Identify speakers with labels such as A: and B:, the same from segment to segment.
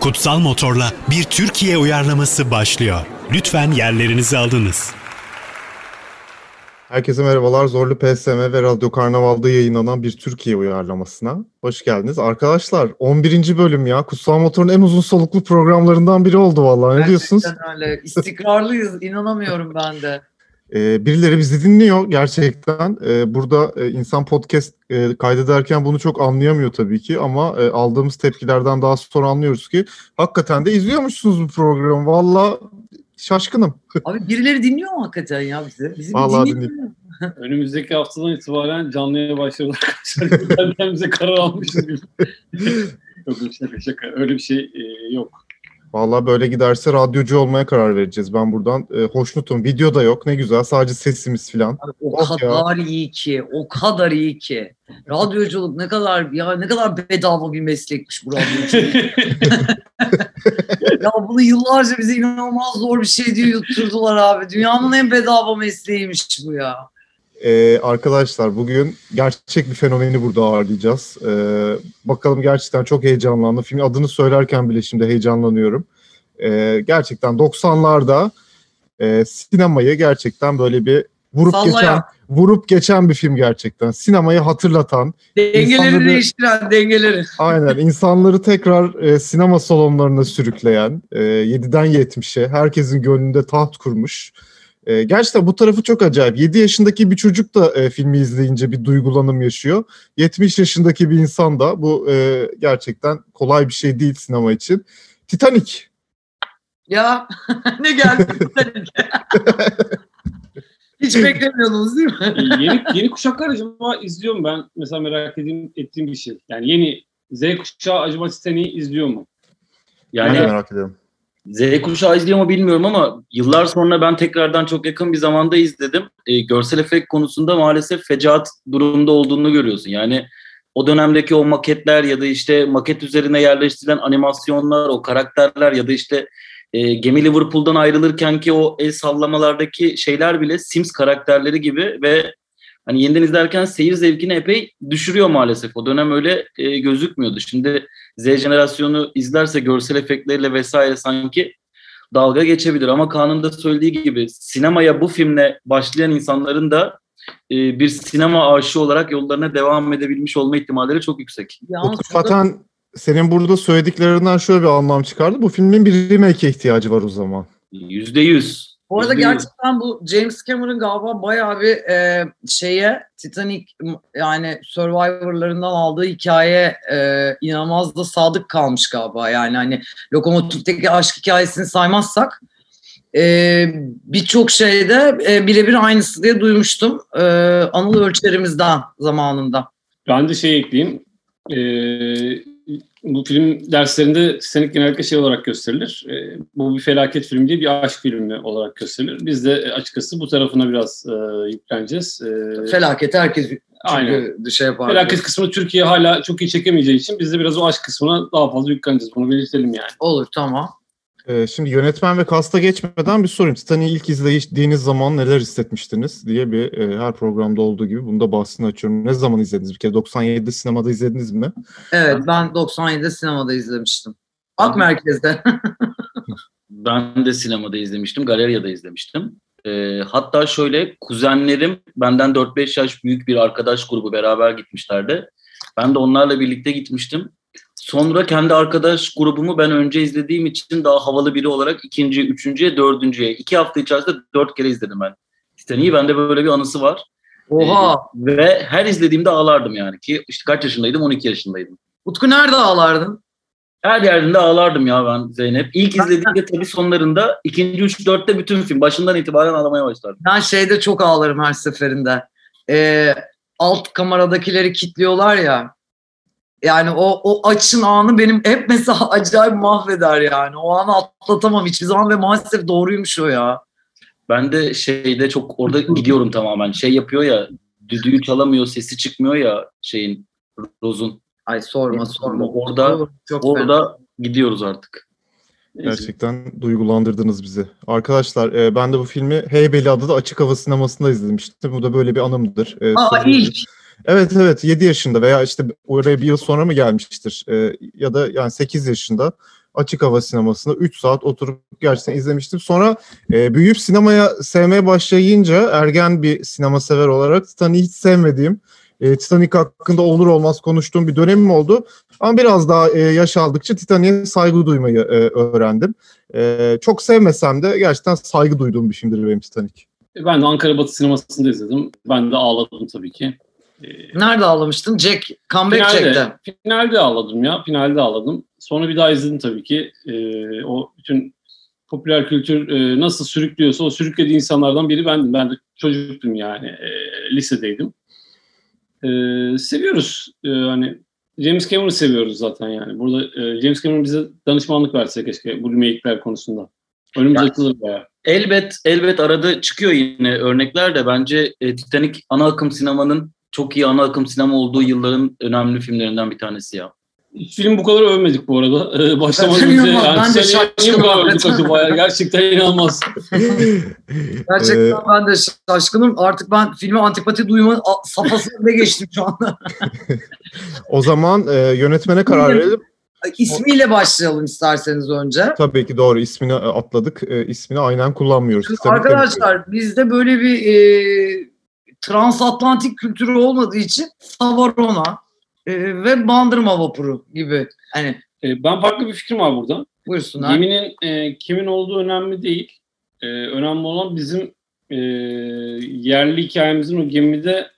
A: Kutsal Motor'la bir Türkiye uyarlaması başlıyor. Lütfen yerlerinizi alınız.
B: Herkese merhabalar. Zorlu PSM ve Radyo Karnaval'da yayınlanan bir Türkiye uyarlamasına. Hoş geldiniz. Arkadaşlar 11. bölüm ya. Kutsal Motor'un en uzun soluklu programlarından biri oldu vallahi. Ne diyorsunuz?
C: Gerçekten öyle. İstikrarlıyız. İnanamıyorum ben de.
B: Ee, birileri bizi dinliyor gerçekten. Ee, burada e, insan podcast e, kaydederken bunu çok anlayamıyor tabii ki ama e, aldığımız tepkilerden daha sonra anlıyoruz ki hakikaten de izliyormuşsunuz bu programı. Valla şaşkınım.
C: Abi birileri dinliyor mu hakikaten ya bizi? Bizi bir
B: Vallahi
C: dinleyin mi?
D: Önümüzdeki haftadan itibaren canlıya başlıyoruz arkadaşlar. Kendimize karar almışız gibi. yok yok şaka şaka. Öyle bir şey e, yok.
B: Valla böyle giderse radyocu olmaya karar vereceğiz. Ben buradan e, hoşnutum. Video da yok. Ne güzel. Sadece sesimiz filan.
C: Abi o
B: Of ya.
C: kadar iyi ki. O kadar iyi ki. Radyoculuk ne kadar ya ne kadar bedava bir meslekmiş bu radyoculuk. ya bunu yıllarca bize inanılmaz zor bir şey diye yutturdular abi. Dünyanın en bedava mesleğiymiş bu ya.
B: Ee, arkadaşlar bugün gerçek bir fenomeni burada ağırlayacağız. Ee, bakalım gerçekten çok heyecanlandım. Filmin adını söylerken bile şimdi heyecanlanıyorum. Ee, gerçekten 90'larda e, sinemayı gerçekten böyle bir vurup
C: Sallaya.
B: geçen vurup geçen bir film gerçekten. Sinemayı hatırlatan,
C: Dengeleri
B: İnsanları-
C: değiştiren dengeleri.
B: aynen insanları tekrar e, sinema salonlarına sürükleyen, e, 7'den 70'e herkesin gönlünde taht kurmuş. E, gerçekten bu tarafı çok acayip. 7 yaşındaki bir çocuk da e, filmi izleyince bir duygulanım yaşıyor. 70 yaşındaki bir insan da bu e, gerçekten kolay bir şey değil sinema için. Titanic.
C: Ya ne geldi? Hiç beklemiyordunuz değil mi?
D: E, yeni, yeni kuşaklar acaba izliyor mu? Ben mesela merak edeyim, ettiğim bir şey. Yani yeni Z kuşağı acaba Stanley'i izliyor mu?
B: Ben de
E: Yani
B: merak ediyorum.
E: Z kuşağı izliyor mu bilmiyorum ama yıllar sonra ben tekrardan çok yakın bir zamanda izledim. Ee, görsel efekt konusunda maalesef fecaat durumda olduğunu görüyorsun. Yani o dönemdeki o maketler ya da işte maket üzerine yerleştirilen animasyonlar, o karakterler ya da işte e, gemi Liverpool'dan ayrılırken ki o el sallamalardaki şeyler bile Sims karakterleri gibi ve hani yeniden izlerken seyir zevkini epey düşürüyor maalesef. O dönem öyle e, gözükmüyordu. Şimdi Z jenerasyonu izlerse görsel efektleriyle vesaire sanki dalga geçebilir. Ama Kaan'ın da söylediği gibi sinemaya bu filmle başlayan insanların da e, bir sinema aşığı olarak yollarına devam edebilmiş olma ihtimalleri çok yüksek.
C: Yalnız
B: Utku zaten senin burada söylediklerinden şöyle bir anlam çıkardı. Bu filmin bir remake'e ihtiyacı var o zaman.
E: Yüzde yüz.
C: Bu arada
E: Yüzde yüz.
C: gerçekten bu James Cameron galiba bayağı bir e, şeye Titanic m- yani Survivor'larından aldığı hikaye e, inanılmaz da sadık kalmış galiba. Yani hani lokomotifteki aşk hikayesini saymazsak e, birçok şeyde e, birebir aynısı diye duymuştum. E, Anıl ölçerimizden zamanında.
D: Ben de şey ekleyeyim. E, bu film derslerinde Stanley genellikle şey olarak gösterilir. E, bu bir felaket filmi değil, bir aşk filmi olarak gösterilir. Biz de e, açıkçası bu tarafına biraz e, yükleneceğiz. E,
C: Felaket herkes
D: Aynen.
C: çünkü şey yapar.
D: Felaket kısmı Türkiye hala çok iyi çekemeyeceği için biz de biraz o aşk kısmına daha fazla yükleneceğiz. Bunu belirtelim yani.
C: Olur tamam.
B: Ee, şimdi yönetmen ve kasta geçmeden bir sorayım. Titanic'i ilk izlediğiniz zaman neler hissetmiştiniz diye bir e, her programda olduğu gibi bunu da bahsini açıyorum. Ne zaman izlediniz? Bir kere 97'de sinemada izlediniz mi?
C: Evet ben 97'de sinemada izlemiştim. Ak merkezde.
E: Ben de sinemada izlemiştim, galeriyada izlemiştim. Ee, hatta şöyle kuzenlerim benden 4-5 yaş büyük bir arkadaş grubu beraber gitmişlerdi. Ben de onlarla birlikte gitmiştim. Sonra kendi arkadaş grubumu ben önce izlediğim için daha havalı biri olarak ikinciye, üçüncüye, dördüncüye. iki hafta içerisinde dört kere izledim ben. Titanic'i bende böyle bir anısı var.
C: Oha.
E: Ee, ve her izlediğimde ağlardım yani ki işte kaç yaşındaydım? 12 yaşındaydım.
C: Utku nerede ağlardın?
E: Her yerinde ağlardım ya ben Zeynep. İlk izlediğimde tabii sonlarında ikinci, üç, dörtte bütün film. Başından itibaren ağlamaya başlardım.
C: Ben şeyde çok ağlarım her seferinde. Ee, alt kameradakileri kilitliyorlar ya. Yani o, o açın anı benim hep mesela acayip mahveder yani. O anı atlatamam hiçbir zaman ve maalesef doğruymuş o ya.
E: Ben de şeyde çok orada gidiyorum tamamen. Şey yapıyor ya, düdüğü çalamıyor, sesi çıkmıyor ya şeyin, Roz'un.
C: Ay sorma sorma.
E: Orada-
C: çok fena.
E: Orada gidiyoruz artık.
B: Gerçekten duygulandırdınız bizi. Arkadaşlar e, ben de bu filmi Heybeli adı da açık hava sinemasında izlemiştim. Bu da böyle bir anımdır. E,
C: Aa
B: sanırım-
C: ilk.
B: Evet evet Ee, 7 yaşında veya işte oraya bir yıl sonra mı gelmiştir E, ya da yani 8 yaşında açık hava sinemasında 3 saat oturup gerçekten izlemiştim. Sonra e, büyüyüp sinemaya sevmeye başlayınca ergen bir sinema sever olarak Titanic'i hiç sevmediğim, e, Titanic hakkında olur olmaz konuştuğum bir dönemim oldu. Ama biraz daha e, yaş aldıkça Titanic'e saygı duymayı e, öğrendim. E, çok sevmesem de gerçekten saygı duyduğum bir filmdir benim Titanic.
D: E, Ben de Ankara Batı sinemasında izledim. Ben de ağladım tabii ki. Ee,
C: Nerede ağlamıştın? Jack, Comeback Jack'te.
D: Finalde, finalde ağladım ya. Finalde ağladım. Sonra bir daha izledim tabii ki. Ee, o bütün popüler kültür e, nasıl sürüklüyorsa o sürüklediği insanlardan biri bendim. Ben de çocuktum yani. Ee, lisedeydim. Ee, seviyoruz. Ee, hani James Cameron'ı seviyoruz zaten yani. Burada e, James Cameron bize danışmanlık verse keşke bu remake'ler konusunda. Önümüz
E: Yani-
D: açılır bayağı.
E: Elbet elbet arada çıkıyor yine örnekler de bence e, Titanic ana akım sinemanın çok iyi ana akım sinema olduğu yılların önemli filmlerinden bir tanesi ya.
D: Hiç film bu kadar övmedik bu arada. Ee, başlamadan
C: Bilmiyorum
D: önce.
C: ama
D: Yani
C: ben de
D: Titanic'i niye bu
C: şaşkınım
D: kadar övdük
C: hakikaten.
D: acaba ya? Gerçekten inanılmaz.
C: Gerçekten
B: Ee,
C: ben de şaşkınım. Artık ben filme antipati duyma a- safhasına bile geçtim şu anda.
B: O zaman e, yönetmene karar
C: Bilmiyorum.
B: verelim.
C: İsmiyle başlayalım isterseniz önce.
B: Tabii ki doğru ismini e, atladık. E, ismini aynen kullanmıyoruz.
C: Çünkü
B: Titanic'le bitiyor.
C: arkadaşlar bizde böyle bir e, transatlantik kültürü olmadığı için Savarona e, ve Bandırma vapuru gibi. Hani
D: Ee, ben farklı bir fikrim var burada.
C: buyursunlar.
D: Geminin e, kimin olduğu önemli değil. E, önemli olan bizim e, yerli hikayemizin o gemide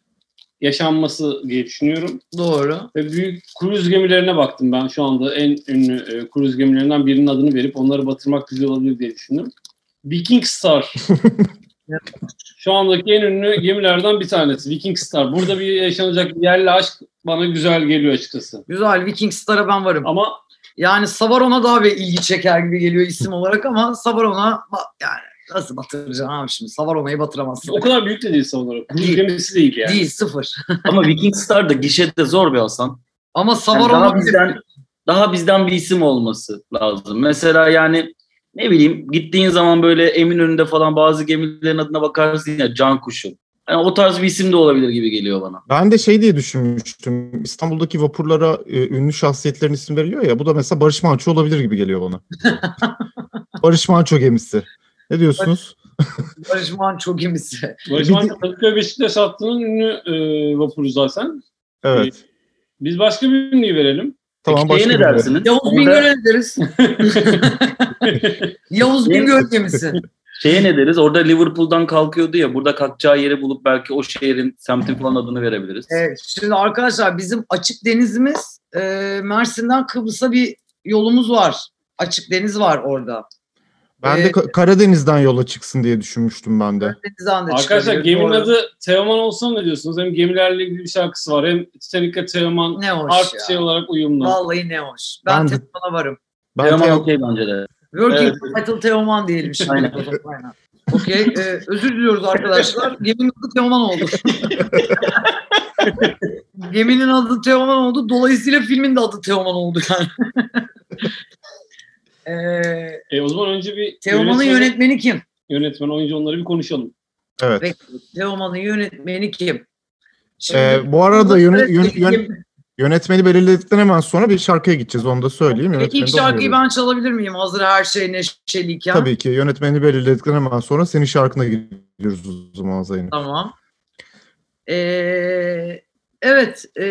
D: yaşanması diye düşünüyorum.
C: Doğru.
D: Ve büyük kruz gemilerine baktım ben şu anda en ünlü e, kruz gemilerinden birinin adını verip onları batırmak güzel olabilir diye düşündüm. Viking Star. şu andaki en ünlü gemilerden bir tanesi Viking Star. Burada bir yaşanacak yerli aşk bana güzel geliyor açıkçası.
C: Güzel Viking Star'a ben varım.
D: Ama
C: Yani Savarona daha bir ilgi çeker gibi geliyor isim olarak ama Savarona ba- yani nasıl batıracaksın abi şimdi? Savarona'yı batıramazsın.
D: o kadar büyük de değil sanırım. Kruz
C: Değil.
D: gemisi değil yani.
C: Değil sıfır.
E: Ama Viking Star da gişede zor be Hasan.
C: Ama
E: Yani
C: Savarona
E: daha bizden daha bizden bir isim olması lazım. Mesela yani ne bileyim gittiğin zaman böyle Eminönü'nde falan bazı gemilerin adına bakarsın ya Can Kuşu. Yani o tarz bir isim de olabilir gibi geliyor bana.
B: Ben de şey diye düşünmüştüm. İstanbul'daki vapurlara e, ünlü şahsiyetlerin isim veriliyor ya. Bu da mesela Barış Manço olabilir gibi geliyor bana. Barış Manço gemisi. Ne diyorsunuz?
C: Barış Manço gemisi.
D: Barış
B: Bir
D: Manço Kadıköy Beşiktaş hattının ünlü e, vapuru zaten.
B: Evet.
D: Biz başka bir ünlüyü verelim.
B: Tamam
E: Peki
B: başka
E: ne
B: bir yere.
E: dersiniz?
C: Yavuz
E: Onu da-
C: Bingöl'e ne deriz? Yavuz Bingöl gemisi.
E: Şeye ne deriz? Orada Liverpool'dan kalkıyordu ya. Burada kalkacağı yeri bulup belki o şehrin, semtin falan adını verebiliriz.
C: Evet, Ee, şimdi arkadaşlar bizim açık denizimiz e, Mersin'den Kıbrıs'a bir yolumuz var. Açık deniz var orada.
B: Ben de
C: Ee,
B: Ka- Karadeniz'den yola çıksın diye düşünmüştüm ben de.
C: Denizden de
D: Arkadaşlar
C: çıkabilir,
D: geminin
C: doğru.
D: adı Teoman olsa ne diyorsunuz? Hem gemilerle ilgili bir şarkısı var. Hem Titanic'le Teoman
C: ne hoş
D: art
C: ya.
D: şey olarak uyumlu.
C: Vallahi ne hoş. Ben,
B: Ben de-
C: Teoman'a varım.
B: Ben
E: Teoman
B: Teo-
E: okey bence de.
C: Working
E: Evet.
C: title Teoman diyelim şimdi.
E: Aynen.
C: Aynen. Okey. e, özür diliyoruz arkadaşlar. Geminin adı Teoman oldu. Geminin adı Teoman oldu. Dolayısıyla filmin de adı Teoman oldu yani. Eee,
D: E, o zaman önce bir
C: Teoman'ın
D: yönetmen-
C: yönetmeni kim?
D: yönetmen, oyuncu onları bir konuşalım.
B: Evet.
C: Teoman'ın yönetmeni kim? Şimdi
B: Ee, bu arada yöne- yön- yön-
C: Peki
B: yönetmeni belirledikten hemen sonra bir şarkıya gideceğiz. Onu da söyleyeyim. Yönetmeni
C: ilk
B: de
C: şarkıyı
B: onu
C: ben çalabilir miyim? Hazır her şey neşeliyken.
B: Tabii ki yönetmeni belirledikten hemen sonra senin şarkına gidiyoruz o zaman Zeynep.
C: Tamam. Ee, evet, e,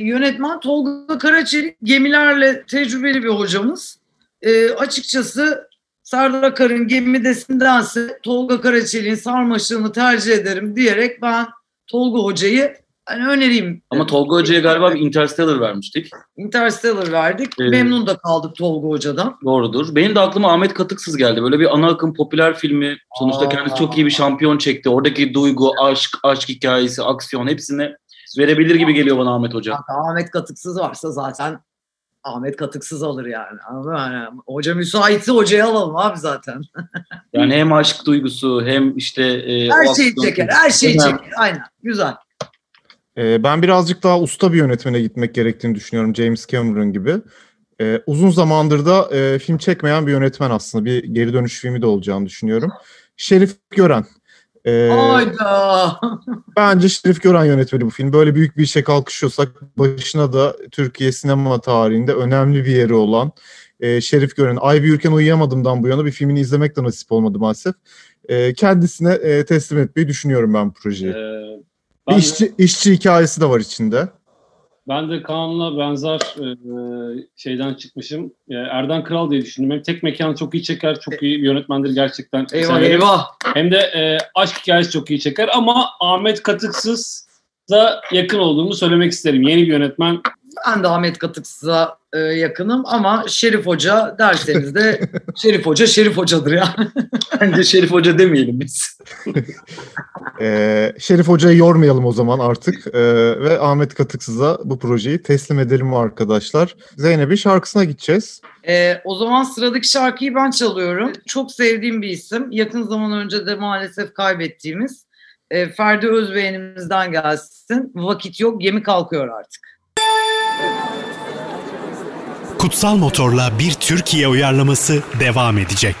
C: yönetmen Tolga Karaçelik gemilerle tecrübeli bir hocamız. Ee, açıkçası Serdar Akar'ın gemidesindense Tolga Karaçelik'in sarmaşığını tercih ederim diyerek ben Tolga Hoca'yı hani önereyim.
E: Ama Tolga Hoca'ya galiba bir Interstellar vermiştik.
C: Interstellar verdik.
E: Evet.
C: Memnun da kaldık Tolga Hoca'dan.
E: Doğrudur. Benim de aklıma Ahmet Katıksız geldi. Böyle bir ana akım popüler filmi. Sonuçta
C: Aa.
E: kendisi çok iyi bir şampiyon çekti. Oradaki duygu, aşk, aşk hikayesi, aksiyon hepsini verebilir gibi geliyor bana Ahmet Hoca.
C: Zaten Ahmet Katıksız varsa zaten Ahmet Katıksız alır yani. Anladın mı? Yani hoca müsaitse hocayı alalım abi zaten.
E: Yani hem aşk duygusu hem işte... e, o
C: Her şeyi
E: aksiyon
C: çeker, her şeyi
E: Önemli.
C: çeker. Aynen, güzel.
B: Ee, ben birazcık daha usta bir yönetmene gitmek gerektiğini düşünüyorum James Cameron gibi. Ee, uzun zamandır da e, film çekmeyen bir yönetmen aslında. Bir geri dönüş filmi de olacağını düşünüyorum. Şerif Gören. Ee,
C: Hayda.
B: bence Şerif Gören yönetmeni bu film. Böyle büyük bir işe kalkışıyorsak başına da Türkiye sinema tarihinde önemli bir yeri olan e, Şerif Gören. Ay bir Ürken Uyuyamadım'dan bu yana bir filmini izlemek de nasip olmadı maalesef. E, kendisine e, teslim etmeyi düşünüyorum ben bu projeyi.
D: Ee,
B: Bir
D: ben,
C: şey-
D: de,
B: işçi, işçi hikayesi de var içinde.
D: ben de Kaan'la benzer e, şeyden çıkmışım. E, Erden Kral diye düşündüm. Hem tek mekanı çok iyi çeker, çok iyi bir yönetmendir gerçekten.
C: E- Eyvah
D: Severim.
C: eyvah.
D: Hem de e, aşk hikayesi çok iyi çeker ama Ahmet Katıksız da yakın olduğumu söylemek isterim. Yeni bir yönetmen.
C: Ben de Ahmet Katıksız'a e, yakınım ama Şerif Hoca derseniz de Şerif Hoca Şerif Hoca'dır ya.
E: Bence Şerif Hoca demeyelim biz.
B: E, Şerif Hoca'yı yormayalım o zaman artık. E, ve Ahmet Katıksız'a bu projeyi teslim edelim arkadaşlar. Zeynep'in şarkısına gideceğiz.
C: E, o zaman sıradaki şarkıyı ben çalıyorum. Çok sevdiğim bir isim. Yakın zaman önce de maalesef kaybettiğimiz e, Ferdi Özbeğen'imizden gelsin. Vakit yok, gemi kalkıyor artık.
A: Kutsal Motor'la bir Türkiye uyarlaması devam edecek.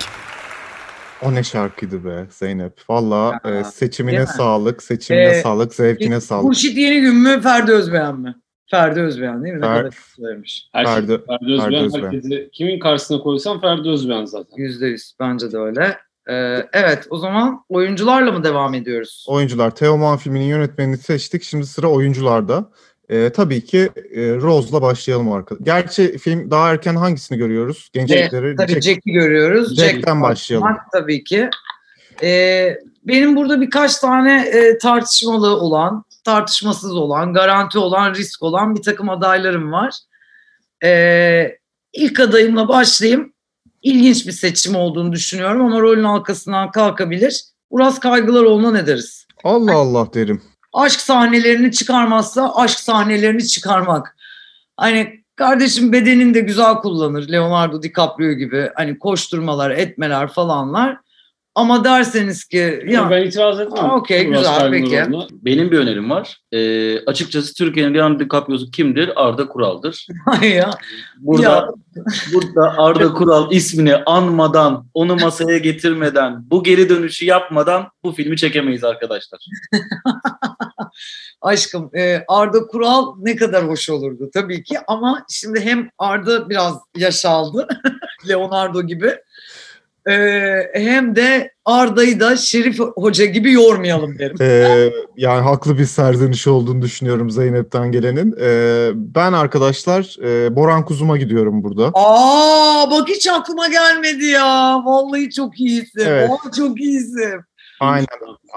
B: O ne şarkıydı be Zeynep. Valla
C: Ya,
B: e, seçimine
C: değil mi?
B: sağlık, seçimine
C: Ee,
B: sağlık, zevkine sağlık.
C: Hurşit Yeni Gün mü, Ferdi Özbeğen mi? Ferdi Özbeğen değil mi? Ne
B: Fer-
C: kadar söylemiş.
D: Her şey-
B: Ferdi-
D: Ferdi Özbeğen.
B: Ferdi Özbeğen.
D: herkesi- kimin karşısına koysam Ferdi Özbeğen zaten.
C: Yüzde yüz bence de öyle. E, evet o zaman oyuncularla mı devam ediyoruz?
B: Oyuncular. Teoman filminin yönetmenini seçtik. Şimdi sıra oyuncularda. E, tabii ki e, Rose'la başlayalım arkadaşlar. Gerçi film daha erken hangisini görüyoruz? Gençlikleri.
C: Tabii
B: Jack-
C: Jack'i görüyoruz.
B: Jack'ten
C: Jack
B: başlayalım.
C: Mark tabii ki. Ee, benim burada birkaç tane e, tartışmalı olan, tartışmasız olan, garanti olan, risk olan bir takım adaylarım var. Ee, ilk adayımla başlayayım. İlginç bir seçim olduğunu düşünüyorum ama rolün arkasından kalkabilir. Uras Kaygılaroğlu'na ne deriz?
B: Allah Allah derim.
C: aşk sahnelerini çıkarmazsa aşk sahnelerini çıkarmak. Hani kardeşim bedenini de güzel kullanır Leonardo DiCaprio gibi hani koşturmalar etmeler falanlar. Ama derseniz ki
D: Ama
C: ya
D: ben itiraz etmem.
C: Aa, okey,
D: Uras
C: güzel, peki.
D: Kaygılaroğlu'na.
E: Benim bir önerim var. Ee, açıkçası Türkiye'nin Leonardo DiCaprio'su kimdir? Arda Kural'dır.
C: ay ya
E: Burada
C: Ya.
E: burada Arda Kural ismini anmadan, onu masaya getirmeden, bu geri dönüşü yapmadan bu filmi çekemeyiz arkadaşlar.
C: aşkım e, Arda Kural ne kadar hoş olurdu tabii ki ama şimdi hem Arda biraz yaş aldı Leonardo gibi E, hem de Arda'yı da Şerif Hoca gibi yormayalım derim.
B: Ee, yani haklı bir serzeniş olduğunu düşünüyorum Zeynep'ten gelenin. Ee, ben arkadaşlar e, Boran Kuzum'a gidiyorum burada.
C: Aa bak hiç aklıma gelmedi ya. Vallahi çok iyisin.
B: Evet.
C: Aa, çok iyisin.
B: Aynen.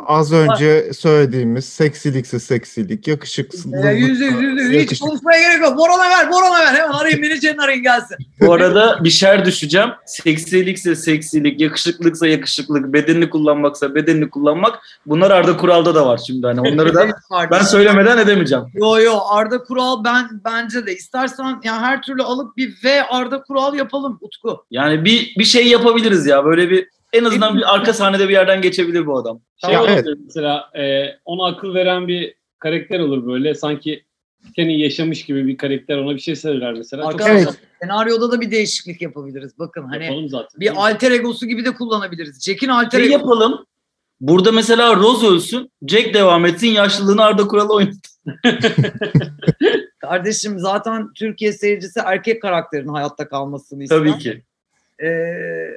B: Az önce söylediğimiz seksilikse seksilik, yakışıksızlıksa
C: Ya, yüzde yüz yüzde yüz. Hiç
B: yakışık-
C: konuşmaya gerek yok. Boran'a ver, Boran'a ver. Hemen arayın beni, Cen'in arayın gelsin.
E: Bu arada bir şer düşeceğim. Seksilikse seksilik, yakışıklıksa yakışıklık, bedenini kullanmaksa bedenini kullanmak. Bunlar Arda Kural'da da var şimdi. Hani onları da ben söylemeden edemeyeceğim.
C: Yo yo Arda Kural ben bence de istersen ya her türlü alıp bir V Arda Kural yapalım Utku.
E: Yani bir bir şey yapabiliriz ya. Böyle bir en azından bir arka sahnede bir yerden geçebilir bu adam.
D: Şey
B: Ya,
D: olur
B: evet.
D: mesela e, ona akıl veren bir karakter olur böyle. Sanki Kenny yaşamış gibi bir karakter ona bir şey söyler mesela. Çok
C: Arkadaşlar
B: Evet.
C: senaryoda da bir değişiklik yapabiliriz. Bakın hani
D: yapalım zaten.
C: bir alter egosu gibi de kullanabiliriz. Jack'in alter
E: Şey
C: egosu.
E: yapalım. Burada mesela Rose ölsün, Jack devam etsin, yaşlılığını Arda Kural'a oynasın.
C: Kardeşim zaten Türkiye seyircisi erkek karakterin hayatta kalmasını istiyor.
E: Tabii ki.
C: Ee,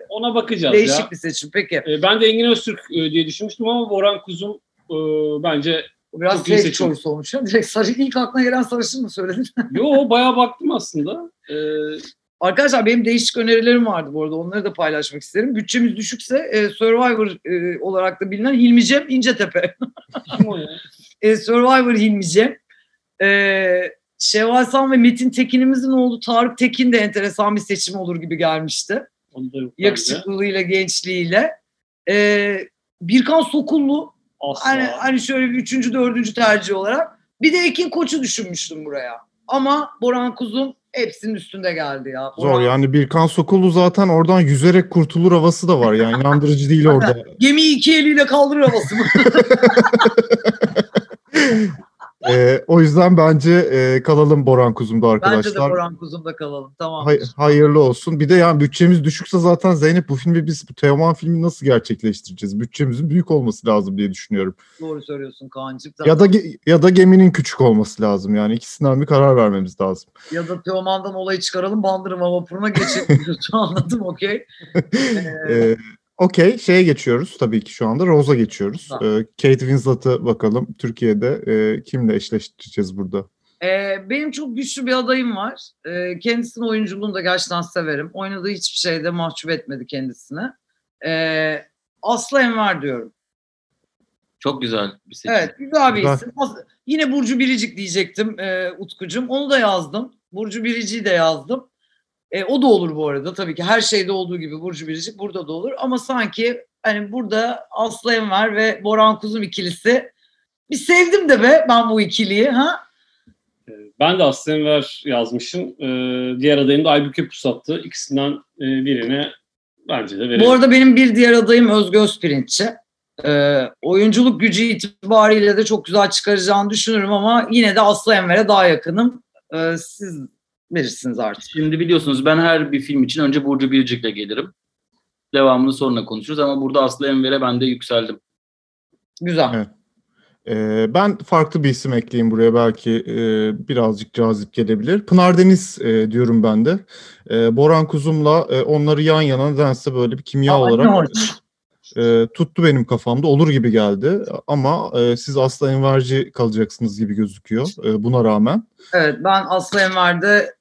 D: Ona bakacağız
C: Değişik
D: ya.
C: bir seçim. Peki.
D: E, ben de Engin Öztürk e, diye düşünmüştüm ama Boran Kuzum e, bence
C: Bu Biraz
D: Çok iyi
C: safe
D: seçim.
C: choice olmuş. ya. Direkt sarı ilk aklına gelen sarışın mı söyledin?
D: yo bayağı baktım aslında. E,
C: Arkadaşlar benim değişik önerilerim vardı bu arada. Onları da paylaşmak isterim. Bütçemiz düşükse e, Survivor e, olarak da bilinen Hilmi Cem İncetepe.
D: kim o ya?
C: E, Survivor Hilmi Cem. E, Şevval Sam ve Metin Tekin'imizin oğlu Tarık Tekin de enteresan bir seçim olur gibi gelmişti.
D: Onu da yok bence.
C: Yakışıklılığıyla, gençliğiyle. E, Birkan Sokullu.
D: Asla.
C: Hani, hani şöyle bir üçüncü, dördüncü tercih olarak. Bir de Ekin Koç'u düşünmüştüm buraya. Ama Boran Kuzum hepsinin üstünde geldi ya.
B: Zor
C: Boran-
B: yani Birkan Sokulu zaten oradan yüzerek kurtulur havası da var yani inandırıcı değil orada.
C: Gemiyi iki eliyle kaldırır havası mı?
B: Ee, E, o yüzden bence e, kalalım Boran Kuzum'da arkadaşlar.
C: Bence de Boran Kuzum'da kalalım. Tamam.
B: Hay- hayırlı olsun. Bir de yani bütçemiz düşükse zaten Zeynep bu filmi biz bu Teoman filmi nasıl gerçekleştireceğiz? Bütçemizin büyük olması lazım diye düşünüyorum.
C: Doğru söylüyorsun Kaan'cığım.
B: Ya da ge- ya da geminin küçük olması lazım yani ikisinden bir karar vermemiz lazım.
C: ya da Teoman'dan olayı çıkaralım Bandırma vapuruna geçelim. diyorsun. Anladım okey. Ee,
B: Ee, Okey şeye geçiyoruz tabii ki şu anda Rose'a geçiyoruz.
C: Tamam.
B: Ee, Kate Winslet'ı bakalım Türkiye'de e, kimle eşleştireceğiz burada?
C: Ee, benim çok güçlü bir adayım var. Ee, kendisinin oyunculuğunu da gerçekten severim. Oynadığı hiçbir şeyde mahcup etmedi kendisini. Ee, Aslı Enver diyorum.
E: Çok güzel bir seçim.
C: Evet güzel bir
B: Güzel.
C: isim. As- Yine Burcu Biricik diyecektim e, Utku'cum. Onu da yazdım. Burcu Biricik'i de yazdım. E, o da olur bu arada tabii ki. Her şeyde olduğu gibi Burcu Biricik burada da olur. Ama sanki hani burada Aslı Enver ve Boran Kuzum ikilisi. Bir sevdim de be ben bu ikiliyi. ha.
D: Ee, Ben de Aslı Enver yazmışım. Ee, diğer adayım da Aybüke Pusat'tı. İkisinden e, birine bence de verelim.
C: Bu arada benim bir diğer adayım Özge Özpirinççi. Ee, oyunculuk gücü itibariyle de çok güzel çıkaracağını düşünürüm ama yine de Aslı Enver'e daha yakınım. Ee, siz verirsiniz artık.
E: Şimdi biliyorsunuz ben her bir film için önce Burcu Biricik'le gelirim. Devamını sonra konuşuruz ama burada Aslı Enver'e ben de yükseldim.
C: Güzel.
B: Evet. Ee, ben farklı bir isim ekleyeyim buraya belki e, birazcık cazip gelebilir. Pınar Deniz e, diyorum ben de. E, Boran Kuzum'la e, onları yan yana nedense böyle bir kimya
C: Aa, ne
B: olarak
C: hoş.
B: e, tuttu benim kafamda. Olur gibi geldi ama e, siz asla enverci kalacaksınız gibi gözüküyor e, buna rağmen.
C: Evet ben Aslı Enver'de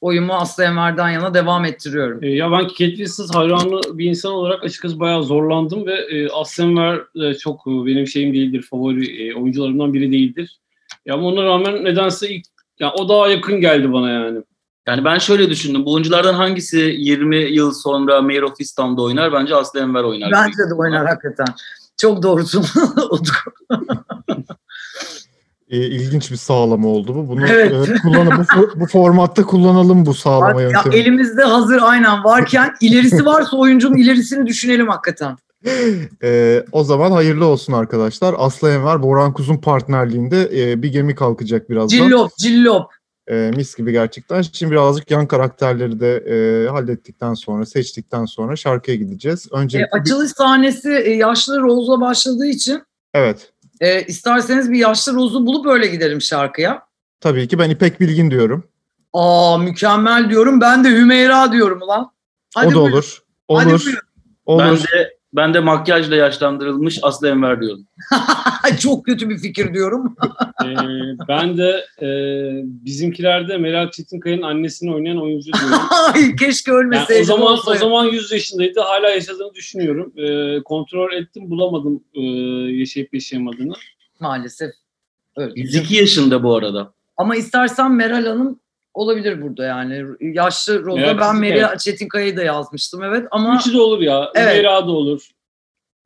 C: oyumu Aslı Enver'den yana devam ettiriyorum.
D: Ee, ya ben Kate Winslet hayranı bir insan olarak açıkçası bayağı zorlandım ve e, Aslı Enver de çok e, benim şeyim değildir, favori e, oyuncularımdan biri değildir. Ya ama ona rağmen nedense ilk, ya o daha yakın geldi bana yani.
E: Yani ben şöyle düşündüm. Bu oyunculardan hangisi 20 yıl sonra Mayor of İstanbul'da oynar? Bence Aslı Enver oynar.
C: Bence de oynar hakikaten. Çok doğrusun. Utku.
B: E, ilginç bir sağlama oldu bu. Bunu
C: Evet.
B: e, kullanıp bu, fo- bu formatta kullanalım bu sağlama
C: Ya
B: yöntemi.
C: elimizde hazır aynen varken ilerisi varsa oyuncunun ilerisini düşünelim hakikaten.
B: Ee, o zaman hayırlı olsun arkadaşlar. Aslı Enver, Boran Kuz'un partnerliğinde e, bir gemi kalkacak birazdan.
C: Cillop, cillop. E,
B: Ee, mis gibi gerçekten. Şimdi birazcık yan karakterleri de e, hallettikten sonra, seçtikten sonra şarkıya gideceğiz. Önce
C: E, açılış sahnesi e, yaşlı Rose'la başladığı için
B: evet.
C: e, isterseniz bir yaşlı Rose'u bulup öyle gidelim şarkıya.
B: Tabii ki ben İpek Bilgin diyorum.
C: Aa mükemmel diyorum. Ben de Hümeyra diyorum ulan. Hadi
B: o da
C: buyurun.
B: olur.
C: Hadi
B: Olur.
C: buyurun.
B: olur.
E: Ben de ben de makyajla yaşlandırılmış Aslı Enver diyorum.
C: Çok kötü bir fikir diyorum.
D: Ee, ben de e, bizimkilerde Meral Çetinkaya'nın annesini oynayan oyuncu diyorum.
C: Ay keşke
D: Yani
C: ölmeseydim.
D: o zaman o
C: olsaydı.
D: zaman 100 yaşındaydı. Hala yaşadığını düşünüyorum. Ee, kontrol ettim, bulamadım e, yaşayıp yaşayamadığını.
C: maalesef. Öyle.
E: 102 yaşında bu arada.
C: Ama istersen Meral Hanım olabilir burada yani. Yaşlı Roza
D: Meral
C: ben
D: Çetinkaya.
C: Meral Çetinkaya'yı da yazmıştım evet ama
D: Üçü de olur ya.
C: Evet.
D: Zehra da olur.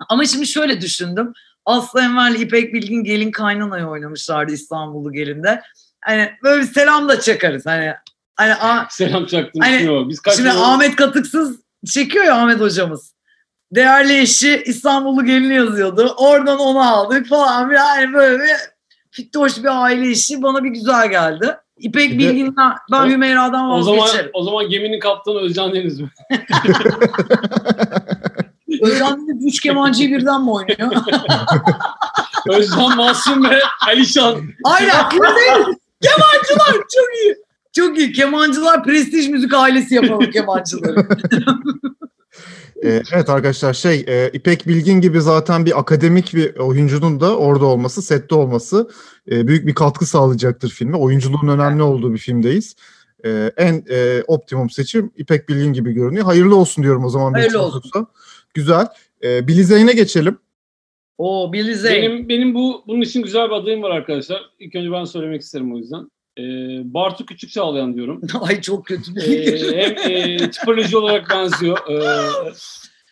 C: ama şimdi şöyle düşündüm. Aslı Enver'le İpek Bilgin gelin kaynanayı oynamışlardı İstanbul'u gelinde. Hani böyle bir selam da çakarız hani. Hani a-
D: Selam çaktım.
C: Hani,
D: düşünüyorum. Biz kaç
C: şimdi
D: yıl-
C: Ahmet Katıksız çekiyor ya Ahmet hocamız. Değerli eşi İstanbul'u gelini yazıyordu. Oradan onu aldık falan. Yani böyle bir fittoş bir aile işi bana bir güzel geldi. İpek
B: Bir de-
C: Bilgin'den ben
D: O-
C: Hümeyra'dan
D: o zaman
C: vazgeçerim.
D: o zaman geminin kaptanı Özcan Deniz mi?
C: Öğrendiğiniz üç kemancıyı birden mi oynuyor?
D: Özcan Masum ve Alişan.
C: Aynen. bu değil. Kemancılar çok iyi. Çok iyi. Kemancılar prestij müzik ailesi yapalım kemancıları.
B: Ee, evet arkadaşlar şey e, İpek Bilgin gibi zaten bir akademik bir oyuncunun da orada olması, sette olması e, büyük bir katkı sağlayacaktır filme. Oyunculuğun önemli olduğu bir filmdeyiz. E, en e, optimum seçim İpek Bilgin gibi görünüyor. Hayırlı olsun diyorum o zaman. bir
C: Hayırlı
B: olsun.
C: olsun.
B: Güzel. E, Billy Zane'e geçelim.
C: Oo Billy Zane.
D: benim benim bu bunun için güzel bir adayım var arkadaşlar. İlk önce ben söylemek isterim o yüzden. Ee, Bartu Küçük Çağlayan diyorum.
C: Ay çok kötü
D: Ee,
C: değil.
D: hem e, tipoloji olarak benziyor. Ee,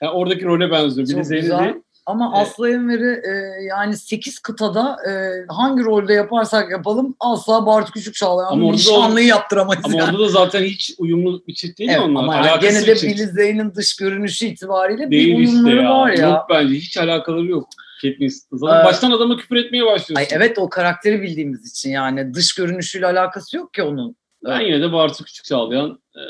D: yani oradaki role benziyor. Bir de
C: Çok
D: Zeynep
C: güzel.
D: değil.
C: Ama
D: Ee,
C: Aslı Enver'i e, yani 8 kıtada e, hangi rolde yaparsak yapalım asla Bartu Küçük
D: Ama
C: Çağlayan'ın
D: orada
C: nişanlıyı yaptıramayız.
D: Ama
C: yani.
D: orada da zaten hiç uyumlu bir çift değil
C: Evet,
D: mi onlar?
C: ama yani
D: Alakası
C: gene de
D: bir çift
C: Billy Zane'in dış görünüşü itibariyle
D: değil
C: bir
D: işte
C: uyumları
D: ya.
C: var ya.
D: Yok bence hiç alakaları yok. Kate Winslet'la.
C: Ee,
D: Baştan adama küfür etmeye başlıyorsun.
C: Ay evet o karakteri bildiğimiz için yani dış görünüşüyle alakası yok ki onun.
D: Ben yine de Bartu Küçük Çağlayan e,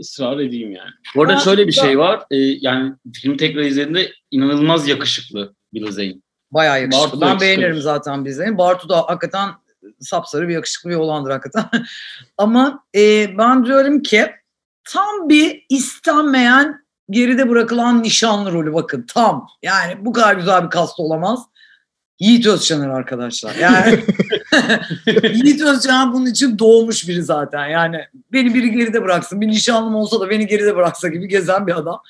D: ısrar edeyim yani.
E: Bu arada
C: Ha,
E: şöyle bir
C: da-
E: şey var. Ee, yani filmi tekrar izlediğinde inanılmaz yakışıklı Bill Zane.
C: Bayağı yakışıklı.
D: Bartu da
C: ben
D: yakışıklı.
C: beğenirim zaten bizden. Bartu da hakikaten sapsarı bir yakışıklı bir oğlandır hakikaten. Ama e, ben diyorum ki tam bir istenmeyen geride bırakılan nişanlı rolü bakın tam. Yani bu kadar güzel bir kast olamaz. Yiğit Özcanır arkadaşlar. Yani Yiğit Özcan bunun için doğmuş biri zaten. Yani beni biri geride bıraksın. Bir nişanlım olsa da beni geride bıraksa gibi gezen bir adam.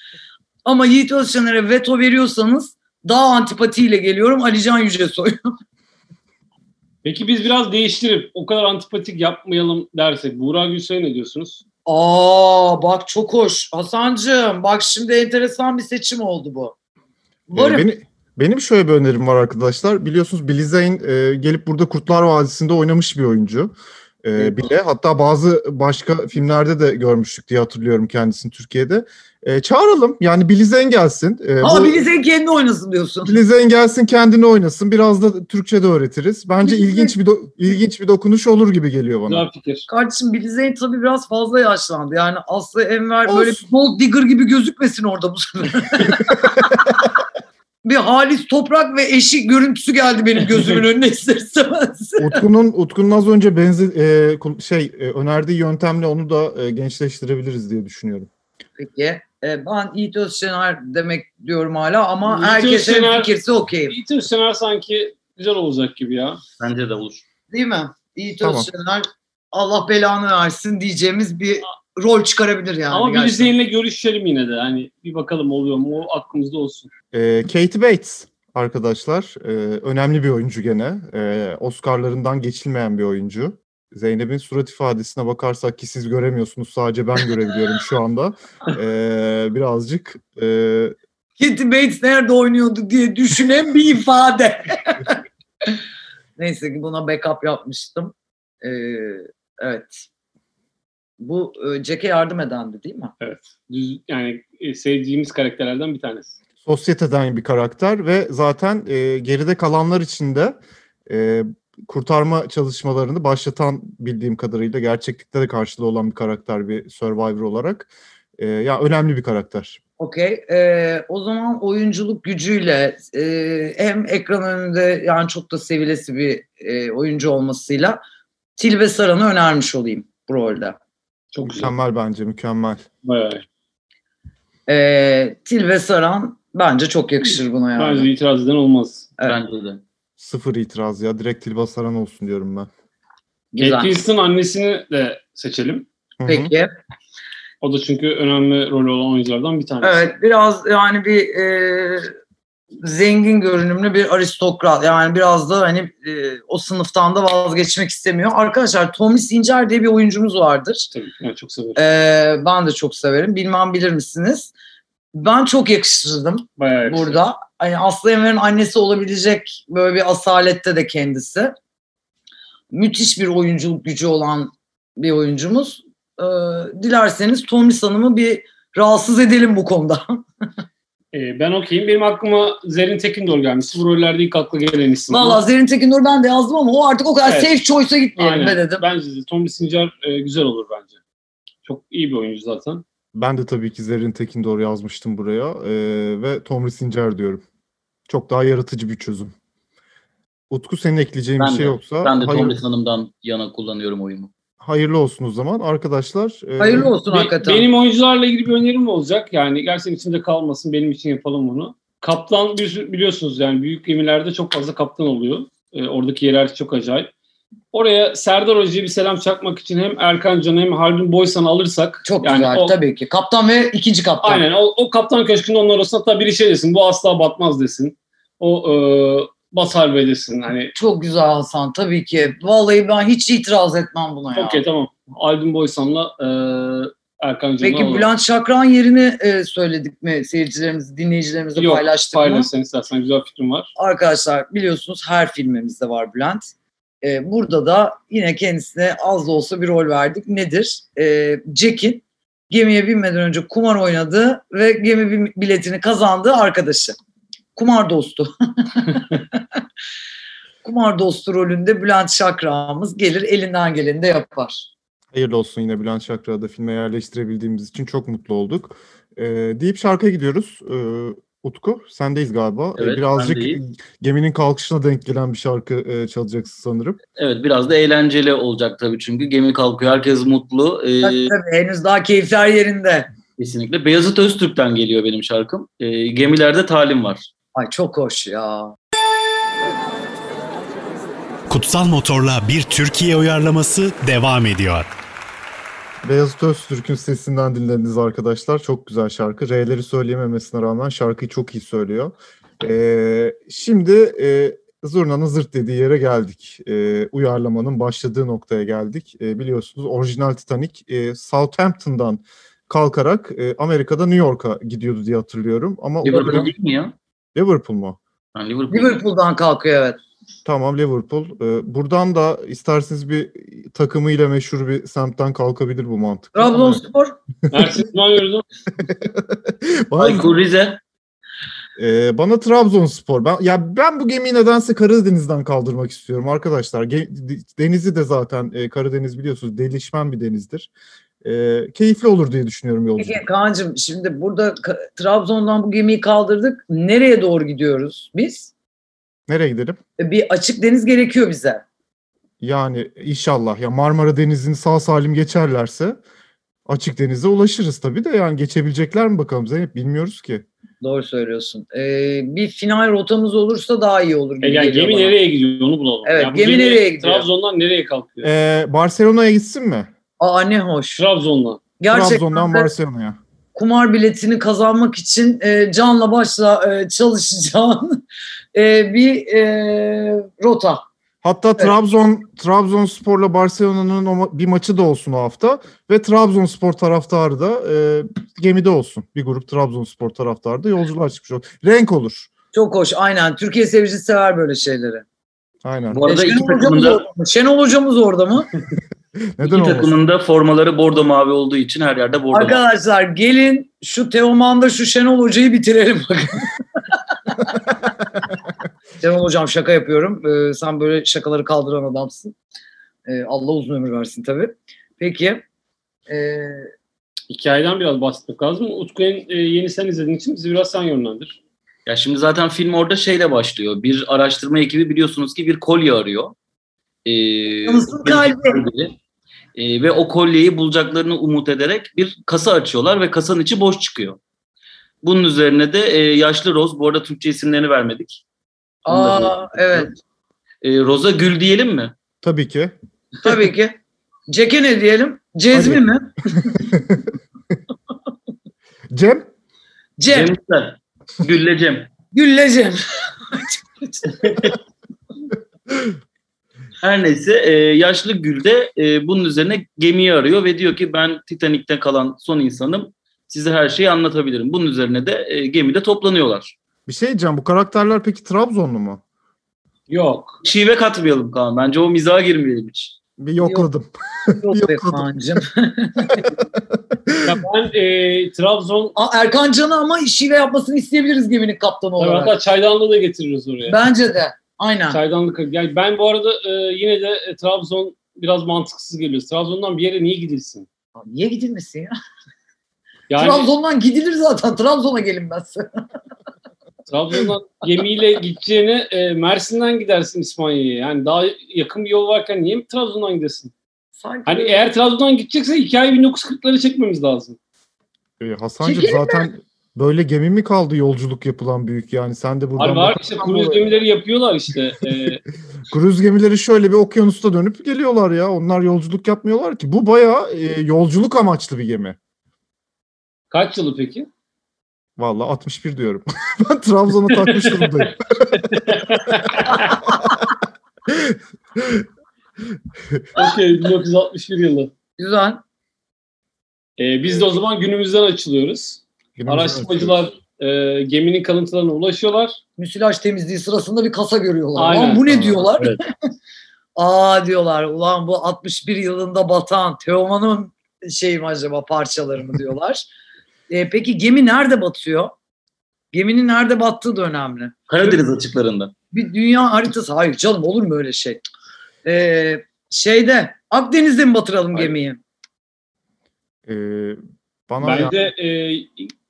C: Ama Yiğit Özcanır'a veto veriyorsanız daha antipatiyle geliyorum Alican Yücesoy.
D: Peki biz biraz değiştirip o kadar antipatik yapmayalım dersek Buğra Gülsoy'a ne diyorsunuz?
C: Aa bak çok hoş. Hasancığım bak şimdi enteresan bir seçim oldu bu.
B: Ee,
C: Varım.
B: beni- benim şöyle bir önerim var arkadaşlar. Biliyorsunuz Billy Zane e, gelip burada Kurtlar Vadisi'nde oynamış bir oyuncu. E, bile hatta bazı başka filmlerde de görmüştük diye hatırlıyorum kendisini Türkiye'de. E, çağıralım yani Billy Zane gelsin. E,
C: Ama
B: bu-
C: Billy Zane kendi oynasın diyorsun.
B: Billy Zane gelsin kendini oynasın. Biraz da Türkçe de öğretiriz. Bence
C: Billy
B: ilginç bir do- ilginç bir dokunuş olur gibi geliyor bana.
D: Güzel fikir.
C: Kardeşim Billy Zane tabii biraz fazla yaşlandı. Yani Aslı Enver böyle
B: Olsun.
C: bir gold digger gibi gözükmesin orada bu sefer. bir halis toprak ve eşi görüntüsü geldi benim gözümün önüne ister istemez.
B: Utku'nun Utku'nun az önce benze e, kul- şey e, önerdiği yöntemle onu da e, gençleştirebiliriz diye düşünüyorum.
C: Peki. e, ben Yiğit Özşener demek diyorum hala ama
D: Yiğit
C: herkesin
D: Özşener-
C: fikirsi okeyim.
D: Yiğit Özsener sanki güzel olacak gibi ya.
E: Bence de olur.
C: Değil mi? Yiğit
B: Tamam.
C: Özşener Allah belanı versin diyeceğimiz bir rol çıkarabilir yani.
D: Ama bir
C: gerçekten.
D: izleyenle görüşelim yine de. Hani bir bakalım oluyor mu o aklımızda olsun.
B: E, Katie Bates arkadaşlar e, önemli bir oyuncu gene. E, Oscar'larından geçilmeyen bir oyuncu. Zeynep'in surat ifadesine bakarsak ki siz göremiyorsunuz sadece ben görebiliyorum şu anda. E, birazcık e,
C: Katie Bates nerede oynuyordu diye düşünen bir ifade. Neyse ki buna backup yapmıştım. Ee, evet. Bu e, Jack'e yardım edendi değil mi?
D: Düz, yani e, sevdiğimiz karakterlerden bir tanesi.
B: sosyeteden bir karakter ve zaten e, geride kalanlar için de e, kurtarma çalışmalarını başlatan bildiğim kadarıyla gerçeklikte de karşılığı olan bir karakter bir survivor olarak. E, ya önemli bir karakter.
C: Okey. Ee, o zaman oyunculuk gücüyle e, hem ekran önünde yani çok da sevilesi bir e, oyuncu olmasıyla Tilbe Saran'ı önermiş olayım bu rolde.
D: Çok güzel.
B: Mükemmel bence mükemmel.
D: Bayağı.
C: Ee, Tilbe Saran bence çok yakışır buna yani.
D: Bence itiraz eden olmaz.
C: Evet.
E: Bence de.
B: Sıfır itiraz ya. Direkt Tilba Saran olsun diyorum ben.
C: Güzel.
D: Kate Winslet'ın annesini de seçelim.
B: Hı hı.
C: Peki.
D: O da çünkü önemli rolü olan oyunculardan bir tanesi.
C: Evet biraz yani bir e, zengin görünümlü bir aristokrat. Yani biraz da hani e, o sınıftan da vazgeçmek istemiyor. Arkadaşlar Tomris İncer diye bir oyuncumuz vardır.
D: Tabii. Yani çok severim.
C: Ee, ben de çok severim. Bilmem bilir misiniz? Ben çok yakıştırdım
D: Bayağı yakışıklı.
C: burada. Hani Aslı Enver'in annesi olabilecek böyle bir asalette de kendisi. Müthiş bir oyunculuk gücü olan bir oyuncumuz. Ee, dilerseniz Tomris Hanım'ı bir rahatsız edelim bu konuda.
D: Ee, ben okeyim. Benim aklıma Zerrin Tekindor gelmişti. Bu rollerde ilk akla gelen isim.
C: Valla Zerrin Tekinur ben de yazdım ama o artık o kadar
D: Evet.
C: safe choice'a gitmeyelim be
D: Aynen.
C: dedim.
D: Bence de Tommy Sincar e, güzel olur bence. Çok iyi bir oyuncu zaten.
B: Ben de tabii ki Zerrin Tekin doğru yazmıştım buraya Ee, ve Tomris Sincer diyorum. Çok daha yaratıcı bir çözüm. Utku senin ekleyeceğin
E: Ben
B: bir şey
E: de.
B: yoksa
E: Ben de
B: hayır-
E: Tomris Hanım'dan yana kullanıyorum oyumu.
B: hayırlı olsun o zaman arkadaşlar. e,
C: Hayırlı olsun
D: Be-
C: hakikaten.
D: benim oyuncularla ilgili bir önerim olacak. Yani gerçekten içinde kalmasın. Benim için yapalım bunu. Kaptan bir sürü- biliyorsunuz yani büyük gemilerde çok fazla kaptan oluyor. E, oradaki hiyerarşi çok acayip. Oraya Serdar Hoca'ya bir selam çakmak için hem Erkan Can'ı hem Haldun Boysan'ı alırsak
C: Çok
D: yani
C: güzel
D: o-
C: tabii ki. Kaptan ve ikinci kaptan.
D: Aynen o, o kaptan köşkünde onlar olsun hatta biri şey desin bu asla batmaz desin. O e, batar be desin hani
C: Çok güzel Hasan tabii ki. Vallahi ben hiç itiraz etmem buna ya.
D: okey tamam. Aldın Boysan'la e, Erkan Can'ı
C: Peki
D: alalım.
C: Bülent Şakran yerini e, söyledik mi seyircilerimiz, dinleyicilerimize
D: Yok,
C: paylaştık mı?
D: paylaşsan istersen güzel fikrim var.
C: Arkadaşlar biliyorsunuz her filmimizde var Bülent. E, burada da yine kendisine az da olsa bir rol verdik. Nedir? E, Jack'in gemiye binmeden önce kumar oynadığı ve gemi bin- biletini kazandığı arkadaşı. kumar dostu. kumar dostu rolünde Bülent Şakrağımız gelir elinden geleni de yapar.
B: Hayırlı olsun yine Bülent Şakra'da filme yerleştirebildiğimiz için çok mutlu olduk. Ee, deyip şarkıya gidiyoruz. Ee, Utku sendeyiz galiba. Ee,
E: Evet,
B: Birazcık
E: bendeyim.
B: geminin kalkışına denk gelen bir şarkı e, çalacaksın sanırım.
E: Evet biraz da eğlenceli olacak tabii çünkü gemi kalkıyor herkes mutlu. Ee,
C: Tabii, tabii, henüz daha keyifler yerinde.
E: kesinlikle. Beyazıt Öztürk'ten geliyor benim şarkım. Ee, gemilerde talim var.
C: Ay çok hoş ya.
A: Kutsal Motor'la bir Türkiye uyarlaması devam ediyor.
B: Beyazıt Öztürk'ün sesinden dinlediniz arkadaşlar. Çok güzel şarkı. R'leri söyleyememesine rağmen şarkıyı çok iyi söylüyor. Ee, şimdi e, Zurna'nın zırt dediği yere geldik. Ee, uyarlamanın başladığı noktaya geldik. Ee, biliyorsunuz orijinal Titanic e, Southampton'dan kalkarak e, Amerika'da New York'a gidiyordu diye hatırlıyorum. Ama
E: Liverpool değil mi ya?
B: Liverpool mu?
E: Ha, Liverpool.
C: Liverpool'dan kalkıyor evet.
B: Tamam Liverpool. Ee, buradan da isterseniz bir takımıyla meşhur bir semtten kalkabilir bu mantık.
C: Trabzonspor
D: Mersin İsmail
B: Var mı?
E: Aykul Rize.
B: Ee, bana Trabzonspor. Ben ya ben bu gemiyi nedense Karadeniz'den kaldırmak istiyorum arkadaşlar. Ge- de- denizi de zaten e, Karadeniz biliyorsunuz delişmen bir denizdir. Ee, keyifli olur diye düşünüyorum yolculuk.
C: Peki Kaan'cığım şimdi burada Ka- Trabzon'dan bu gemiyi kaldırdık. Nereye doğru gidiyoruz biz?
B: Nereye gidelim?
C: E, Bir açık deniz gerekiyor bize.
B: Yani inşallah ya Marmara Denizi'ni sağ salim geçerlerse açık denize ulaşırız tabii de yani geçebilecekler mi bakalım Zeynep bilmiyoruz ki.
C: Doğru söylüyorsun. E, bir final rotamız olursa daha iyi olur. gibi
D: E yani
C: geliyor
D: gemi
C: bana.
D: nereye gidiyor onu bulalım.
C: Evet,
D: Ya bu
C: gemi nereye gidiyor?
D: Trabzon'dan nereye kalkıyor?
B: Ee, Barcelona'ya gitsin mi?
C: Aa ne hoş.
D: Trabzon'dan.
C: Gerçekten
B: Trabzon'dan
C: de
B: Barcelona'ya.
C: kumar biletini kazanmak için e, canla başla e, çalışacağın e, bir e, rota.
B: Hatta Trabzon Trabzonspor'la Barcelona'nın o ma- bir maçı da olsun o hafta ve Trabzonspor taraftarı da e, gemide olsun. Bir grup Trabzonspor taraftarı da yolculuğa çıkmış olur. Renk olur.
C: Çok hoş aynen. Türkiye seyircisi sever böyle şeyleri.
B: Aynen.
E: Bu
C: E,
E: arada iki
C: Şenol hocamız
E: takımında,
C: orada mı? Şenol hocamız orada mı?
B: Neden
E: iki
B: olmasın?
E: takımında formaları bordo mavi olduğu için her yerde bordo mavi.
C: Arkadaşlar gelin şu Teoman'da şu Şenol Hoca'yı bitirelim bakın. Şenol Hocam şaka yapıyorum. Ee, sen böyle şakaları kaldıran adamsın. Ee, Allah uzun ömür versin tabii. Peki. Ee,
D: Hikayeden biraz bahsetmek lazım. Utku en, e, yeni sen izlediğin için bizi biraz sen yönlendir.
E: Ya şimdi zaten film orada şeyle başlıyor. Bir araştırma ekibi biliyorsunuz ki bir kolye arıyor. Ee,
C: Yalnızın kalbi.
E: Ee, ve o kolyeyi bulacaklarını umut ederek bir kasa açıyorlar ve kasanın içi boş çıkıyor. Bunun üzerine de e, yaşlı Roz, bu arada Türkçe isimlerini vermedik. Onu da
C: aa, evet
E: E, Roz'a gül diyelim mi?
B: Tabii ki.
C: tabii ki. Ceke ne diyelim? Cezmi
B: Hadi.
C: mi?
B: Cem
C: Cem.
E: Cem'den. Gülle Cem.
C: Gülle Cem.
E: Her neyse e, yaşlı Gül de e, bunun üzerine gemiyi arıyor ve diyor ki ben Titanik'te kalan son insanım. Size her şeyi anlatabilirim. Bunun üzerine de e, gemide toplanıyorlar.
B: bir şey diyeceğim. Bu karakterler peki Trabzonlu mu?
D: Yok.
E: Şive katmayalım Kaan. Bence o mizaha girmeyelim hiç.
B: Bir yokladım.
C: Yok be
B: Yokladım.
C: Kaan'cığım.
D: Ya ben e, Trabzon
C: Aa, Erkan Can'ı ama şive yapmasını isteyebiliriz geminin kaptanı
D: Tabii
C: olarak.
D: hatta çaydanlığı da getiririz oraya.
C: Bence de. Aynen.
D: Çaydanlık. Yani ben bu arada e, yine de e, Trabzon biraz mantıksız geliyor. Trabzon'dan bir yere niye gidilsin?
C: Abi Niye gidilmesin ya?
D: Yani
C: Trabzon'dan gidilir zaten. Trabzon'a gelinmez.
D: Trabzon'dan gemiyle gideceğine e, Mersin'den gidersin İspanya'ya. Yani daha yakın bir yol varken niye mi Trabzon'dan gidesin?
C: Sanki
D: Hani eğer Trabzon'dan gidecekse hikaye 1940'ları çekmemiz lazım.
B: Ee, Hasancığım
C: Çekelim
B: zaten böyle gemi mi kaldı yolculuk yapılan büyük yani sen de buradan
D: Hani Var var
B: bak-
D: işte kruz gemileri yapıyorlar işte. E,
B: Kruz gemileri şöyle bir okyanusta dönüp geliyorlar ya. Onlar yolculuk yapmıyorlar ki. Bu bayağı e, yolculuk amaçlı bir gemi.
D: kaç yılı peki?
B: Vallahi 61 diyorum. ben Trabzon'a takmış durumdayım.
D: Okey 1961 yılı.
C: Güzel.
D: E, biz de o zaman günümüzden açılıyoruz.
B: Günümüzü
D: Araştırmacılar e, geminin kalıntılarına ulaşıyorlar.
C: Müsilaj temizliği sırasında bir kasa görüyorlar.
D: Aynen.
C: Ulan bu ne
B: Aynen.
C: diyorlar?
E: Evet.
C: Aa diyorlar. Ulan bu 61 yılında batan Teoman'ın şey mi acaba parçaları mı diyorlar. E, peki gemi nerede batıyor? Geminin nerede battığı da önemli.
E: Karadeniz açıklarında.
C: Bir dünya haritası. Hayır canım olur mu öyle şey? Ee, şeyde Akdeniz'de mi batıralım
D: Hayır.
C: gemiyi?
B: E, bana ya-
D: Bence e,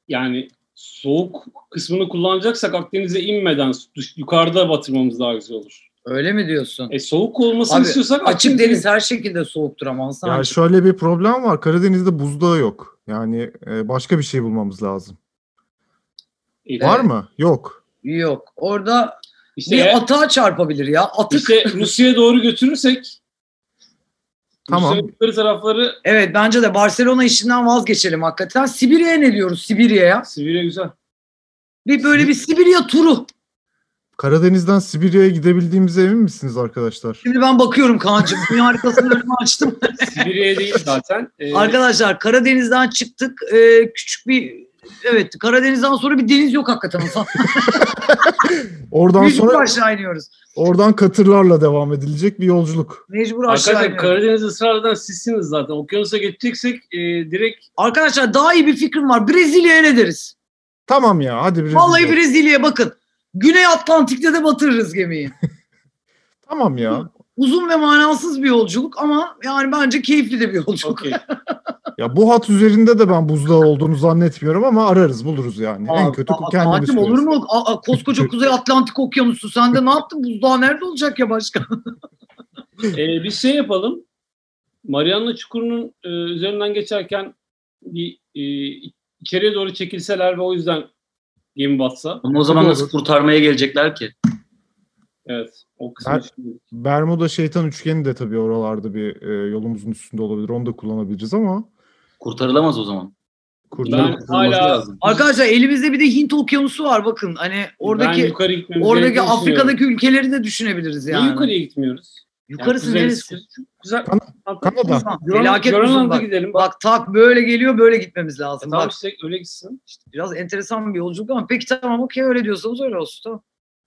D: yani soğuk kısmını kullanacaksak Akdeniz'e inmeden düş- yukarıda batırmamız daha güzel olur.
C: Öyle mi diyorsun?
D: E, soğuk olmasını
C: Abi,
D: istiyorsak
C: Açık
D: Akdeniz'e-
C: deniz her şekilde soğuktur ama Hasan.
B: ya şöyle bir problem var. Karadeniz'de buzdağı yok. Yani e, başka bir şey bulmamız lazım.
D: E,
B: Var
C: Evet.
B: mı? Yok.
C: Yok. Orada
D: İşte,
C: bir atağa çarpabilir ya. Atık.
D: işte Rusya'ya doğru götürürsek
B: Tamam.
D: Rusya'nın yukarı tarafları
C: Evet bence de Barcelona işinden vazgeçelim hakikaten. Sibirya'ya ne diyoruz Sibirya'ya?
D: Sibirya güzel.
C: Bir böyle bir Sibirya turu.
B: Karadeniz'den Sibirya'ya gidebildiğimize emin misiniz arkadaşlar?
C: Şimdi ben bakıyorum Kaan'cığım. Dünya haritasını önüme açtım.
D: Sibirya'ya değil zaten. E,
C: Arkadaşlar Karadeniz'den çıktık. Ee, küçük bir evet Karadeniz'den sonra bir deniz yok hakikaten. Hasan.
B: Oradan
C: Mecbur
B: sonra
C: aşağı iniyoruz.
B: oradan katırlarla devam edilecek bir yolculuk.
C: Mecbur aşağı
D: Arkadaşlar
C: iniyoruz.
D: Karadeniz ısrardan sizsiniz zaten. Okyanusa geçeceksek e, direkt
C: Arkadaşlar daha iyi bir fikrim var. Brezilya'ya ne deriz?
B: Tamam ya hadi biraz.
C: Vallahi Brezilya'ya bakın. Güney Atlantik'te de batırırız gemiyi.
B: Tamam ya.
C: Uzun ve manasız bir yolculuk ama yani bence keyifli de bir yolculuk.
D: okey.
B: Ya bu hat üzerinde de ben buzdağı olduğunu zannetmiyorum ama ararız buluruz yani. en
C: Aa,
B: kötü
C: aa,
B: kendimiz.
C: Fatih, olur
B: koyarız.
C: mu? Aa, aa, koskoca Kuzey Atlantik Okyanusu sende ne yaptın? Buzdağı nerede olacak ya başka?
D: Ee, bir şey yapalım. Mariana Çukuru'nun e, üzerinden geçerken bir e, içeriye doğru çekilseler ve o yüzden gemi batsa.
E: Ama o zaman
B: Doğru.
E: nasıl kurtarmaya gelecekler ki?
D: Evet. O kısmı.
B: Ben-
D: düşünüyorum.
B: Bermuda şeytan üçgeni de tabii oralarda bir e, yolumuzun üstünde olabilir. Onu da kullanabiliriz ama
E: Kurtarılamaz o zaman.
D: Ben
B: kurtarıp
E: Kurtarılması
D: hala-
E: lazım.
C: Arkadaşlar elimizde bir de Hint Okyanusu var bakın. Hani
D: Ben
C: oradaki
D: yukarı gitmemiz
C: oradaki
D: gerektiğini
C: Afrika'daki ülkeleri de düşünebiliriz
D: düşünüyorum. Niye
C: yani.
D: yukarıya gitmiyoruz? Yani
C: Yukarısı
D: kuzey-
C: neresi?
D: Güzel.
B: Kanada.
C: Felaket uzun
D: Grönland'a
C: bak.
D: gidelim. Bak,
C: Bak tak böyle geliyor böyle gitmemiz lazım.
D: E, tamam
C: Bak
D: işte öyle gitsin.
C: biraz enteresan bir yolculuk ama peki tamam okey öyle diyorsanız öyle olsun tamam.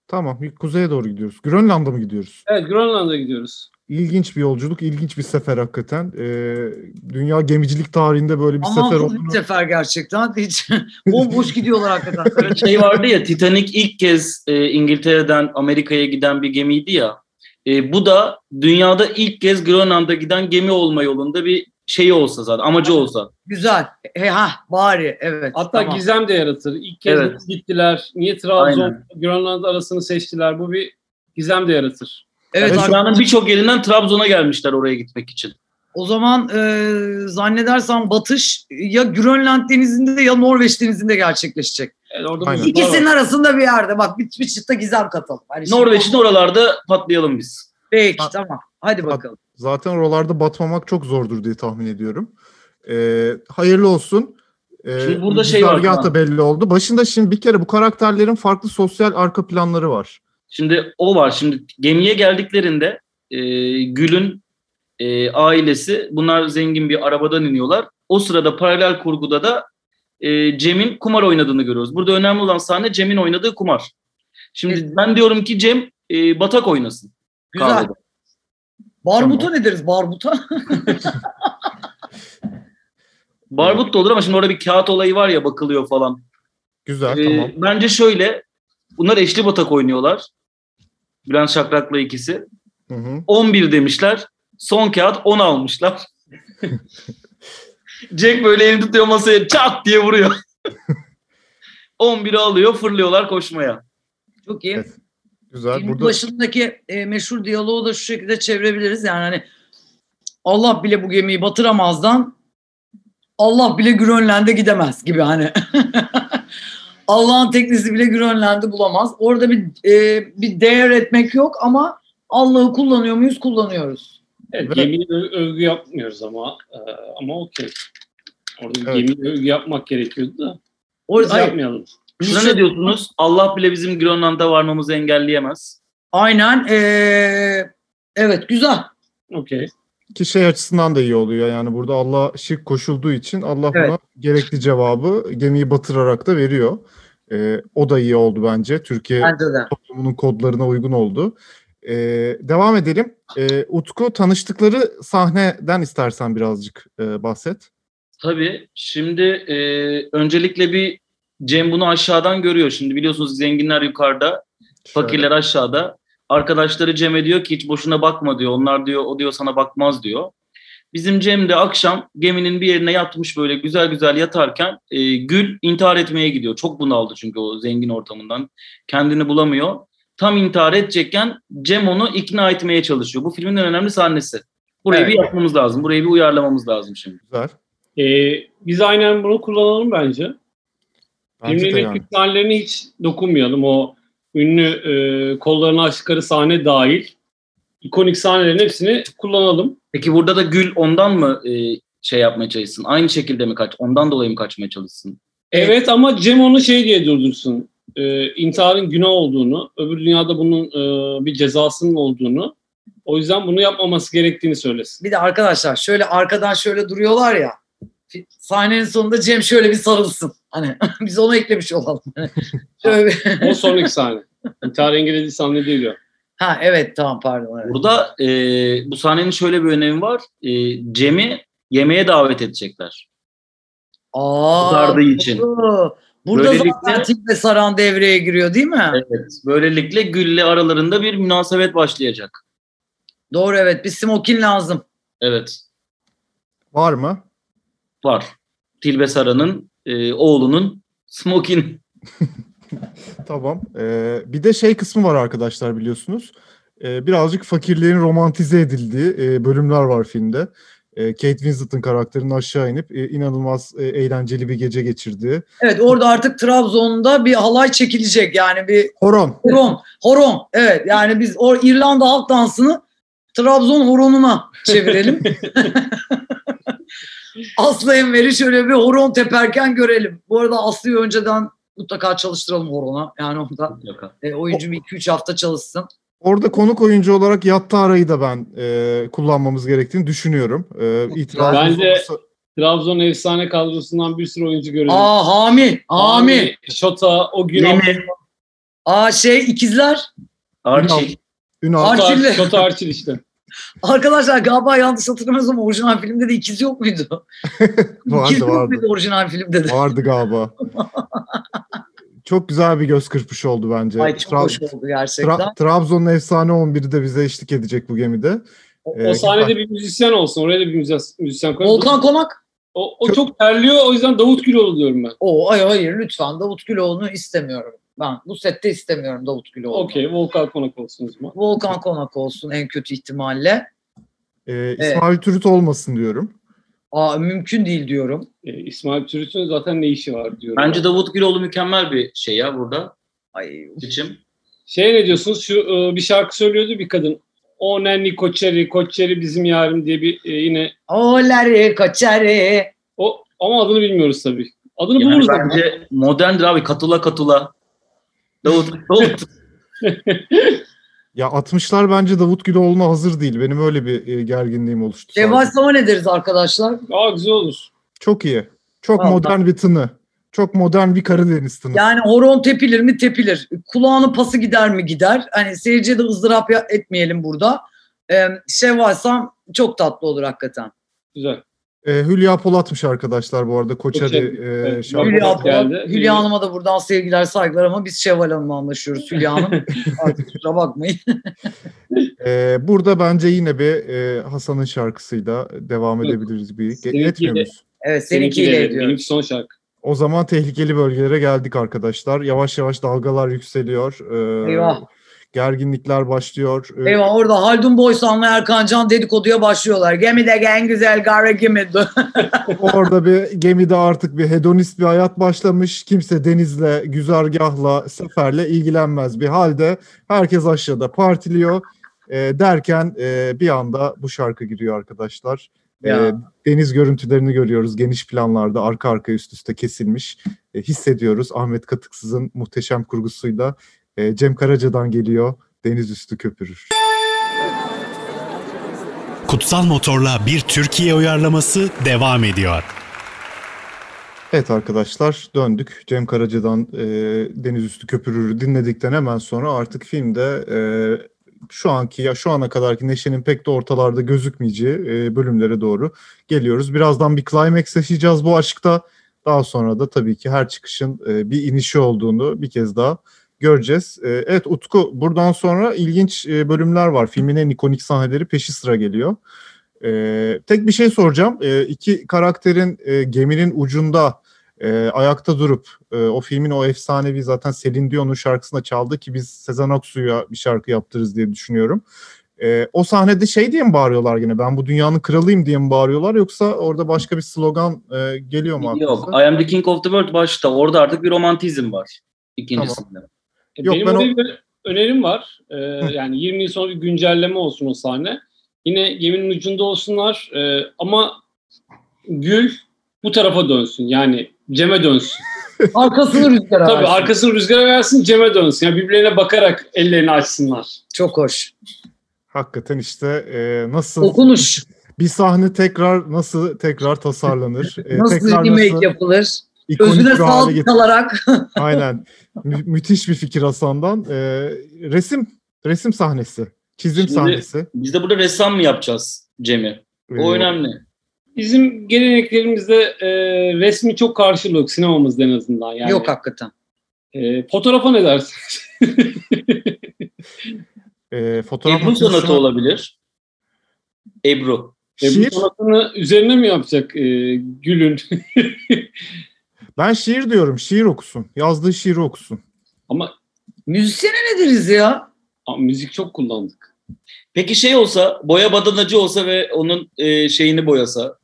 B: Tamam bir kuzeye doğru gidiyoruz. Grönland'a mı gidiyoruz?
D: Evet Grönland'a gidiyoruz.
B: İlginç bir yolculuk, ilginç bir sefer hakikaten. E, dünya gemicilik tarihinde böyle bir
C: Ama
B: sefer
C: bu
B: olduğunu
C: bir sefer gerçekten hiç bomboş gidiyorlar hakikaten. Öyle-
E: şey vardı ya Titanic ilk kez e, İngiltere'den Amerika'ya giden bir gemiydi ya. E, bu da dünyada ilk kez Grönland'a giden gemi olma yolunda bir şey olsa zaten amacı olsa.
C: Güzel. E, ha bari evet.
D: Hatta
C: tamam.
D: gizem de yaratır. İlk kez
E: Evet.
D: nasıl gittiler. Niye Trabzon,
E: Aynen.
D: Grönland arasını seçtiler. Bu bir gizem de yaratır.
C: Evet
B: Evet,
C: arkadaşlar,
E: Dünyanın birçok yerinden Trabzon'a gelmişler oraya gitmek için.
C: o zaman e, zannedersem batış ya Grönland denizinde ya Norveç denizinde gerçekleşecek.
D: Evet, orada
B: Aynen.
D: buzlar var.
C: İkisinin arasında bir yerde bak bir, bir çıta gizem katalım. Hani şimdi-
E: Norveç'in oralarda patlayalım biz.
C: Peki
B: Ha-
C: tamam. Hadi
B: Ha-
C: bakalım.
B: Zaten oralarda batmamak çok zordur diye tahmin ediyorum. Ee, hayırlı olsun. Ee,
E: Şimdi burada şey var
B: güzergah
E: Kaan.
B: da belli oldu. Başında şimdi bir kere bu karakterlerin farklı sosyal arka planları var.
E: Şimdi o var. Şimdi gemiye geldiklerinde e, Gül'ün e, ailesi bunlar zengin bir arabadan iniyorlar. O sırada paralel kurguda da e, Cem'in kumar oynadığını görüyoruz. Burada önemli olan sahne Cem'in oynadığı kumar. Şimdi
C: Evet.
E: ben diyorum ki Cem e, batak oynasın.
C: Güzel.
E: kahvede.
C: Barbuta
B: Tamam.
C: ne deriz? Barbuta.
E: Barbut da olur ama şimdi orada bir kağıt olayı var ya bakılıyor falan.
B: Güzel
E: E,
B: tamam.
E: Bence şöyle bunlar eşli batak oynuyorlar. Bülent Şakrak'la ikisi.
B: Hı hı.
E: 11 demişler. Son kağıt 10 almışlar. Jack böyle elini tutuyor masaya çat diye vuruyor. 11'i alıyor fırlıyorlar koşmaya.
C: Çok iyi.
B: Evet, Güzel.
C: Filmin
B: burada
C: başındaki e, meşhur diyaloğu da şu şekilde çevirebiliriz. Yani hani Allah bile bu gemiyi batıramazdan Allah bile Grönland'e gidemez gibi hani. Allah'ın teknesi bile Grönland'ı bulamaz. Orada bir e, bir değer etmek yok ama Allah'ı kullanıyor muyuz? Kullanıyoruz.
D: Evet,
B: Ve-
D: gemiye ö- övgü yapmıyoruz ama e, ama okey. Orada bir
B: Evet.
D: gemiye övgü yapmak gerekiyordu da
C: O,
D: biz
C: hayır,
D: yapmayalım.
E: Şuna ne diyorsunuz? Allah bile bizim Grönland'a varmamızı engelleyemez.
C: Aynen. eee, evet güzel.
D: Okey.
B: ki şey açısından da iyi oluyor. Yani burada Allah şirk koşulduğu için Allah
C: Evet.
B: buna gerekli cevabı gemiyi batırarak da veriyor. Ee, o da iyi oldu bence. Türkiye
C: Bence de.
B: toplumunun kodlarına uygun oldu. Ee, devam edelim. Ee, Utku tanıştıkları sahneden istersen birazcık e, bahset.
E: Tabii. Şimdi e, öncelikle bir Cem bunu aşağıdan görüyor. Şimdi biliyorsunuz zenginler yukarıda, fakirler aşağıda. Arkadaşları Cem'e diyor ki hiç boşuna bakma diyor. Onlar diyor o diyor sana bakmaz diyor. Bizim Cem de akşam geminin bir yerine yatmış böyle güzel güzel yatarken e, Gül intihar etmeye gidiyor. Çok bunaldı çünkü o zengin ortamından. Kendini bulamıyor. Tam intihar edecekken Cem onu ikna etmeye çalışıyor. Bu filmin en önemli sahnesi. Burayı
C: Evet.
E: bir yapmamız lazım. Burayı bir uyarlamamız lazım şimdi.
B: Güzel.
D: Ee, biz aynen bunu kullanalım bence.
B: Bence
D: Filmin
B: de
D: elektrik
B: yani.
D: sahnelerine hiç dokunmayalım. O ünlü e, kollarını açtıkları sahne dahil. ikonik sahnelerin hepsini kullanalım.
E: Peki burada da Gül ondan mı e, şey yapmaya çalışsın? Aynı şekilde mi kaç? Ondan dolayı mı kaçmaya çalışsın?
D: Evet, ama Cem onu şey diye durdursun. E, intiharın günah olduğunu, öbür dünyada bunun e, bir cezasının olduğunu. O yüzden bunu yapmaması gerektiğini söylesin.
C: Bir de arkadaşlar şöyle arkadan şöyle duruyorlar ya. fi- Sahnenin sonunda Cem şöyle bir sarılsın. Hani biz onu eklemiş olalım. Hani şöyle bir-
D: O sonraki sahne. İntihar engel edildi sahne değil o.
C: ha evet tamam pardon. evet.
E: Burada e, bu sahnenin şöyle bir önemi var. E, Cem'i yemeğe davet edecekler.
C: Aa,
E: Sardığı için.
C: doğru. Burada
E: Böylelikle-
C: zaten Tilbe Saran devreye giriyor değil mi?
E: Evet. Böylelikle Gül'le aralarında bir münasebet başlayacak.
C: Doğru evet bir smokin lazım.
E: Evet.
B: Var mı?
E: Var. Tilbe Sara'nın e, oğlunun Smokin.
B: Tamam. Ee, bir de şey kısmı var arkadaşlar biliyorsunuz. Ee, birazcık fakirliğin romantize edildiği e, bölümler var filmde. Ee, Kate Winslet'ın karakterinin aşağı inip e, inanılmaz e, eğlenceli bir gece geçirdiği.
C: Evet orada artık Trabzon'da bir halay çekilecek yani bir
B: Horon.
C: horon. Horon evet yani biz o İrlanda halk dansını Trabzon horonuna çevirelim. Aslı Enver'i şöyle bir horon teperken görelim. Bu arada Aslı'yı önceden mutlaka çalıştıralım horona. Yani onda e, oyuncu bir 2-3 hafta çalışsın.
B: Orada konuk oyuncu olarak yatta arayı da ben e, kullanmamız gerektiğini düşünüyorum. Ee, itirazınız
D: Bence-
B: olursa-
D: Trabzon efsane kadrosundan bir sürü oyuncu göreceğiz.
C: Aa Hami, Hami.
D: Şota, o gün
E: Yemi.
C: Aa şey ikizler.
E: Archie.
B: Ünal,
C: Ar- Arçilli.
D: Şota Arçil işte.
C: Arkadaşlar galiba yanlış hatırlamıyorsam orijinal filmde de ikiz yok muydu? ikiz
B: vardı
C: yok
B: vardı.
C: muydu orijinal filmde de?
B: Vardı galiba. çok güzel bir göz kırpışı oldu bence.
C: Ay çok
B: Tra-
C: hoş oldu gerçekten.
B: Tra- Trabzon'un efsane 11'i de bize eşlik edecek bu gemide.
D: O,
B: Ee,
D: o sahnede bir müzisyen olsun. Oraya da bir müzisyen, müzisyen koyalım.
C: Volkan Konak.
D: O, o çok terliyor. O yüzden Davut Güloğlu diyorum ben.
C: Oo, ay hayır lütfen Davut Güloğlu'nu istemiyorum. Ben bu sette istemiyorum Davut Güloğlu'nu.
D: Okey. Volkan Konak olsun o zaman.
C: Volkan Konak olsun en kötü ihtimalle.
B: Ee, İsmail Türüt olmasın diyorum.
C: Aa, mümkün değil diyorum.
D: Ee, İsmail Türüt'ün zaten ne işi var diyorum.
E: Bence Davut Güloğlu mükemmel bir şey ya burada.
C: Ay,
E: Seçim.
D: Şey ne diyorsunuz? Şu e, bir şarkı söylüyordu bir kadın. O nenni koçeri, koçeri bizim yarım diye bir e, yine
C: oları kaçarı.
D: o ama adını bilmiyoruz tabii. Adını
E: Yani
D: buluruz.
E: bence moderndir abi. Katula katula. Davut, Davut
B: Ya 60'lar bence Davut Güloğlu'na hazır değil. Benim öyle bir e, gerginliğim oluştu. sadece.
C: Devaslama ne deriz arkadaşlar?
D: Aa güzel olur.
B: Çok iyi. Çok
C: Vallahi.
B: modern bir tını. Çok modern bir Karadeniz tını.
C: Yani horon tepilir mi tepilir. Kulağının pası gider mi gider. Hani seyirciye de ızdırap ya- etmeyelim burada. Ee, şey varsa çok tatlı olur hakikaten.
D: Güzel.
B: Ee, Hülya Polat'mış arkadaşlar bu arada. Koçeri
D: Koçeri,
B: e,
D: evet.
B: şarkı-
D: Hülya
C: Hülya,
D: Polat geldi.
C: Polat-
D: Hülya-
C: Hülya Hanım'a da buradan sevgiler saygılar ama biz Şevval Hanım'la anlaşıyoruz Hülya Hanım. Artık kusura bakmayın.
B: Ee, burada bence yine bir e, Hasan'ın şarkısıyla devam
D: Yok.
B: edebiliriz. Bir,
D: Seninkiyle-
B: etmiyor muyuz?
C: Evet
D: Seninki
C: seninkiyle
D: de-
C: ediyorum.
D: Benimki son şarkı.
B: O zaman tehlikeli bölgelere geldik arkadaşlar. Yavaş yavaş dalgalar yükseliyor. Ee,
C: Eyvah.
B: Gerginlikler başlıyor. Ee,
C: Eyvah orada Haldun Boysan'la Erkan Can dedikoduya başlıyorlar. Gemide en güzel gara gemide.
B: Orada bir gemide artık bir hedonist bir hayat başlamış. Kimse denizle, güzergahla, seferle ilgilenmez bir halde. Herkes aşağıda partiliyor. Ee, derken e, bir anda bu şarkı giriyor arkadaşlar. Ee,
C: Ya.
B: deniz görüntülerini görüyoruz geniş planlarda arka arka üst üste kesilmiş. Ee, hissediyoruz Ahmet Katıksız'ın muhteşem kurgusuyla. Ee, Cem Karaca'dan geliyor deniz üstü köpürür.
A: Kutsal Motor'la bir Türkiye uyarlaması devam ediyor.
B: Evet arkadaşlar döndük. Cem Karaca'dan e, Deniz Üstü Köpürür'ü dinledikten hemen sonra artık filmde e, şu anki ya şu ana kadarki Neşe'nin pek de ortalarda gözükmeyeceği e, bölümlere doğru geliyoruz. Birazdan bir climax yaşayacağız bu aşkta. Daha sonra da tabii ki her çıkışın e, bir inişi olduğunu bir kez daha göreceğiz. E, evet Utku buradan sonra ilginç e, bölümler var. Filmin en ikonik sahneleri peşi sıra geliyor. E, tek bir şey soracağım. E, iki karakterin e, geminin ucunda e, ayakta durup e, o filmin o efsanevi zaten Selin Dion'un şarkısında çaldı ki biz Sezen Aksu'ya bir şarkı yaptırırız diye düşünüyorum. E, o sahnede şey diye mi bağırıyorlar yine ben bu dünyanın kralıyım diye mi bağırıyorlar yoksa orada başka bir slogan e, geliyor mu?
E: Yok. I
B: aklınıza?
E: am the king of the world başta. Orada artık bir romantizm var. İkincisinde.
D: E,
B: Yok,
D: Benim
B: ben o-
D: oraya bir önerim var. Ee, yani 20 yıl sonra bir güncelleme olsun o sahne. Yine geminin ucunda olsunlar ee, ama gül bu tarafa dönsün. Yani Cem'e dönsün.
C: Arkasını rüzgara
D: Tabii
C: versin.
D: arkasını rüzgara versin Cem'e dönsün. Yani birbirlerine bakarak ellerini açsınlar.
C: Çok hoş.
B: Hakikaten işte e, nasıl
C: Dokunuş.
B: bir sahne tekrar nasıl tekrar tasarlanır? E,
C: Nasıl
B: tekrar
C: remake yapılır?
B: ikonik
C: Özüne
B: bir hale
C: sağlık
B: getirir?
C: kalarak.
B: Aynen. Mü- müthiş bir fikir Hasan'dan. Ee, resim resim sahnesi, çizim
E: Şimdi-
B: sahnesi.
E: Biz de burada ressam mı yapacağız Cem'i?
B: Ee,
E: O önemli.
D: Bizim geleneklerimizde e, resmi çok karşılığı yok sinemamızda en azından. Yani,
C: Yok hakikaten.
D: E, fotoğrafa ne dersin?
B: e, fotoğraf
E: Ebru sanatı
B: makinesine-
E: olabilir. Ebru.
D: E, bu
B: Şiir.
D: sanatını üzerine mi yapacak e, Gül'ün?
B: Ben şiir diyorum. Şiir okusun. Yazdığı şiiri okusun.
D: Ama
C: Müzisyene ne deriz ya?
D: a, müzik çok kullandık.
E: Peki şey olsa, boya badanacı olsa ve onun e, şeyini boyasa,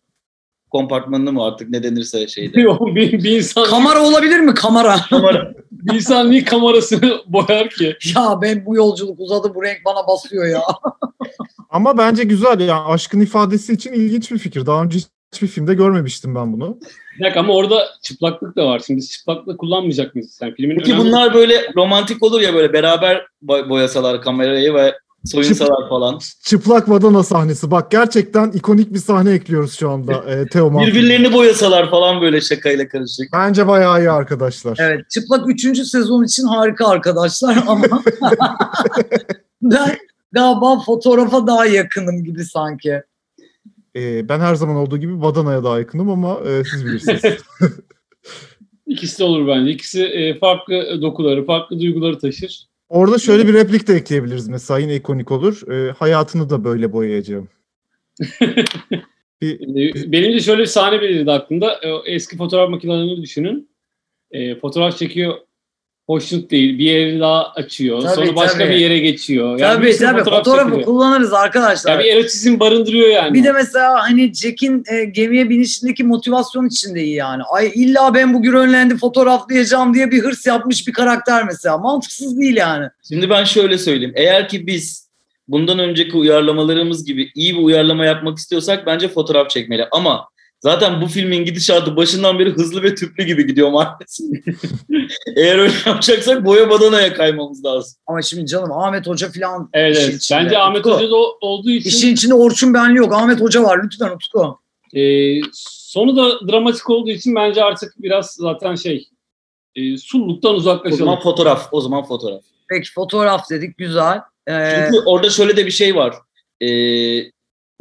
E: kompartmanını mı artık ne denirse şeyde.
D: Yok, bir, bir insan
C: Kamera olabilir mi kamera?
E: Kamera.
D: bir insan niye kamerasını boyar ki?
C: ya ben bu yolculuk uzadı bu renk bana basıyor ya.
B: Ama bence güzel. Yani aşkın ifadesi için ilginç bir fikir. Daha önce hiçbir filmde görmemiştim ben bunu.
D: Bir dakika ama orada çıplaklık da var. Şimdi biz çıplaklık kullanmayacak mıyız? Yani filmin
E: Peki
D: önemli-
E: bunlar böyle romantik olur ya böyle beraber boy- boyasalar kamerayı ve soyunsalar falan.
B: Çıplak Vadana sahnesi. Bak gerçekten ikonik bir sahne ekliyoruz şu anda. E, Teoman.
E: Birbirlerini boyasalar falan böyle şakayla karışık.
B: Bence bayağı iyi arkadaşlar.
C: Evet çıplak 3. sezon için harika arkadaşlar ama ben galiba fotoğrafa daha yakınım gibi sanki.
B: E, ben her zaman olduğu gibi Vadana'ya daha yakınım ama e, siz bilirsiniz.
D: İkisi de olur bence. İkisi e, farklı dokuları, farklı duyguları taşır.
B: Orada şöyle bir replik de ekleyebiliriz mesela yine ikonik olur. Ee, hayatını da böyle boyayacağım.
D: E, Benim de şöyle bir sahne belirledi aklımda. E, o Eski fotoğraf makinelerini düşünün. E, fotoğraf çekiyor. Hoşnut değil. Bir yeri daha açıyor.
C: Tabii,
D: sonra başka
C: tabii.
D: bir yere geçiyor. bir
C: tabii
D: sürü
C: tabii
D: fotoğraf
C: fotoğrafı
D: çekiliyor.
C: kullanırız arkadaşlar.
D: Yani bir erotizm barındırıyor yani.
C: Bir de mesela hani Jack'in e, gemiye binişindeki motivasyon içinde iyi yani. Ay illa ben bu Grönland'i fotoğraflayacağım diye bir hırs yapmış bir karakter mesela. Mantıksız değil yani.
E: Şimdi ben şöyle söyleyeyim. Eğer ki biz bundan önceki uyarlamalarımız gibi iyi bir uyarlama yapmak istiyorsak bence fotoğraf çekmeli. Ama zaten bu filmin gidişatı başından beri hızlı ve tüplü gibi gidiyor maalesef. Eğer öyle yapacaksak boya badanaya kaymamız lazım.
C: Ama şimdi canım Ahmet Hoca falan
D: Evet,
C: işin
D: evet.
C: içinde.
D: Bence Ahmet
C: Utku,
D: Hoca da o- olduğu için
C: İşin içinde Orçun Benli yok. Ahmet Hoca var lütfen Utku.
D: e, sonu da dramatik olduğu için bence artık biraz zaten şey e, sulluktan
E: O
D: uzaklaşalım.
E: zaman fotoğraf. O zaman fotoğraf.
C: Peki fotoğraf dedik güzel. Ee,
E: Çünkü orada şöyle de bir şey var. Ee,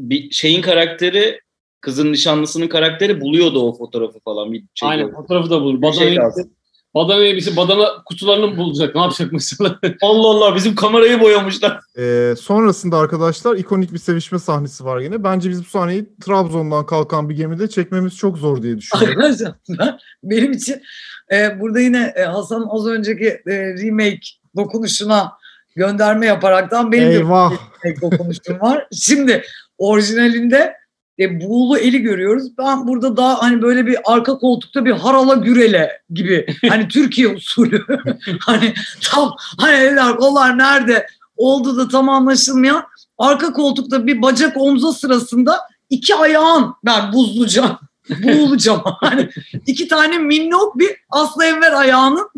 E: bir şeyin karakteri kızın nişanlısının karakteri buluyordu o fotoğrafı falan. Bir şey
D: Aynen fotoğrafı da bulur.
E: Bir şey
D: Badana elbise,
E: lazım.
D: badana elbise, badana kutularını mı bulacak? Ne yapacak mesela?
E: Allah Allah bizim kamerayı boyamışlar.
B: Ee, sonrasında arkadaşlar ikonik bir sevişme sahnesi var yine. Bence biz bu sahneyi Trabzon'dan kalkan bir gemide çekmemiz çok zor diye düşünüyorum.
C: Arkadaşlar ben- benim için e, burada yine e, Hasan'ın az önceki e, remake dokunuşuna gönderme yaparaktan benim de
B: Eyvah.
C: remake dokunuşum var. Şimdi orijinalinde e, buğulu eli görüyoruz. Ben burada daha hani böyle bir arka koltukta bir harala gürele gibi hani Türkiye usulü hani tam hani eller kollar nerede olduğu da tam anlaşılmayan arka koltukta bir bacak omza sırasında iki ayağın ben buzluca boğulacağım. Hani iki tane minnok bir Aslı Enver ayağının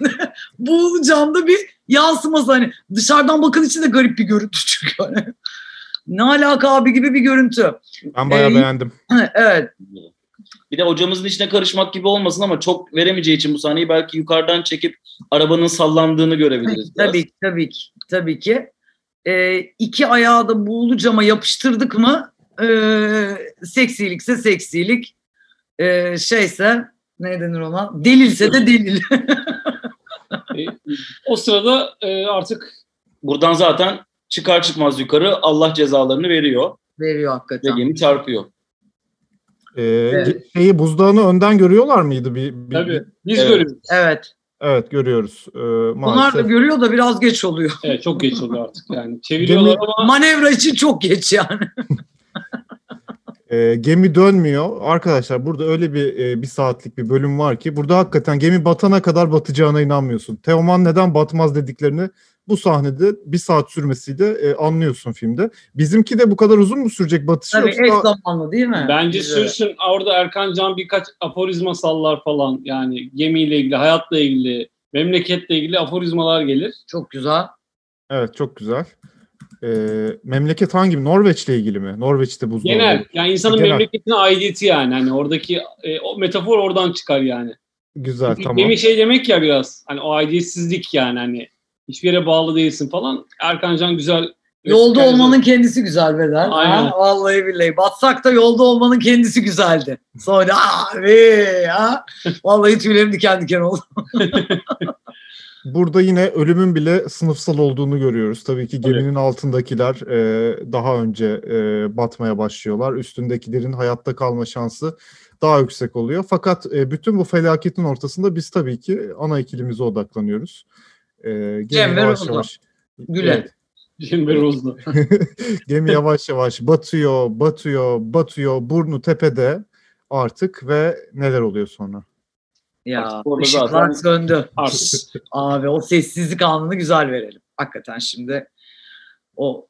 C: boğulacağımda bir yansıması. Hani dışarıdan bakan için de garip bir görüntü çünkü. Hani. Ne alaka abi gibi bir görüntü.
B: Ben bayağı
C: Ee,
B: beğendim.
C: evet.
E: Bir de hocamızın içine karışmak gibi olmasın ama çok veremeyeceği için bu sahneyi belki yukarıdan çekip arabanın sallandığını görebiliriz. biraz.
C: Tabii ki, tabii ki. Tabii ki. Ee, iki ayağı da buğulu cama yapıştırdık mı ee, seksilikse seksilik e, şeyse ne denir ona? Delilse de delil.
D: E, o sırada e, artık
E: Buradan zaten çıkar çıkmaz yukarı Allah cezalarını veriyor
C: Veriyor
E: ve
C: hakikaten.
E: gemi çarpıyor.
B: Ee, Şeyi buzdağını önden görüyorlar mıydı? Bir, bir-
D: tabii biz
E: Evet.
D: görüyoruz.
C: Evet.
B: Evet görüyoruz. Ee,
C: Bunlar da
B: maalesef.
C: görüyor da biraz geç oluyor.
D: Evet, çok geç oldu artık yani. Çeviriyorlar ama
C: Manevra için çok geç yani.
B: Ee, gemi dönmüyor. Arkadaşlar burada öyle bir e, bir saatlik bir bölüm var ki burada hakikaten gemi batana kadar batacağına inanmıyorsun. Teoman neden batmaz dediklerini bu sahnede bir saat sürmesiyle e, anlıyorsun filmde. Bizimki de bu kadar uzun mu sürecek batışı
C: Tabii eş
B: yoksa
C: zamanlı değil mi?
D: bence
C: Biz
D: sürsün orada Erkan Can birkaç aforizma sallar falan yani gemiyle ilgili, hayatla ilgili, memleketle ilgili aforizmalar gelir.
C: Çok güzel.
B: Evet çok güzel. Ee, memleket hangi? Norveç'le ilgili mi? Norveç'te buzdağı.
D: Genel yani insanın
B: Genel.
D: memleketine aidiyeti yani hani oradaki e, o metafor oradan çıkar yani.
B: Güzel tamam.
D: Gemi şey demek ya biraz hani o aidiyetsizlik yani hani hiçbir yere bağlı değilsin falan. Erkan Can güzel
C: Yolda olmanın kendisi güzel beden.
D: Aynen.
C: Ha, vallahi billahi. Batsak da yolda olmanın kendisi güzeldi. Sonra abi ha. Vallahi tüylerim diken diken oldu.
B: Burada yine ölümün bile sınıfsal olduğunu görüyoruz. Tabii ki geminin altındakiler e, daha önce e, batmaya başlıyorlar. Üstündekilerin hayatta kalma şansı daha yüksek oluyor. Fakat e, bütün bu felaketin ortasında biz tabii ki ana ikilimize odaklanıyoruz. E, gemi
C: Cem ve
B: yavaş
C: Rozo.
B: yavaş.
C: Güle.
B: Evet.
D: Cember Uzlu.
B: Gemi yavaş yavaş batıyor, batıyor, batıyor. Burnu tepede artık ve neler oluyor sonra?
C: Ya
E: Artık orada
C: ışıklar
E: zaten-
C: söndü.
D: Artık
C: Abi o sessizlik anını güzel verelim. Hakikaten şimdi o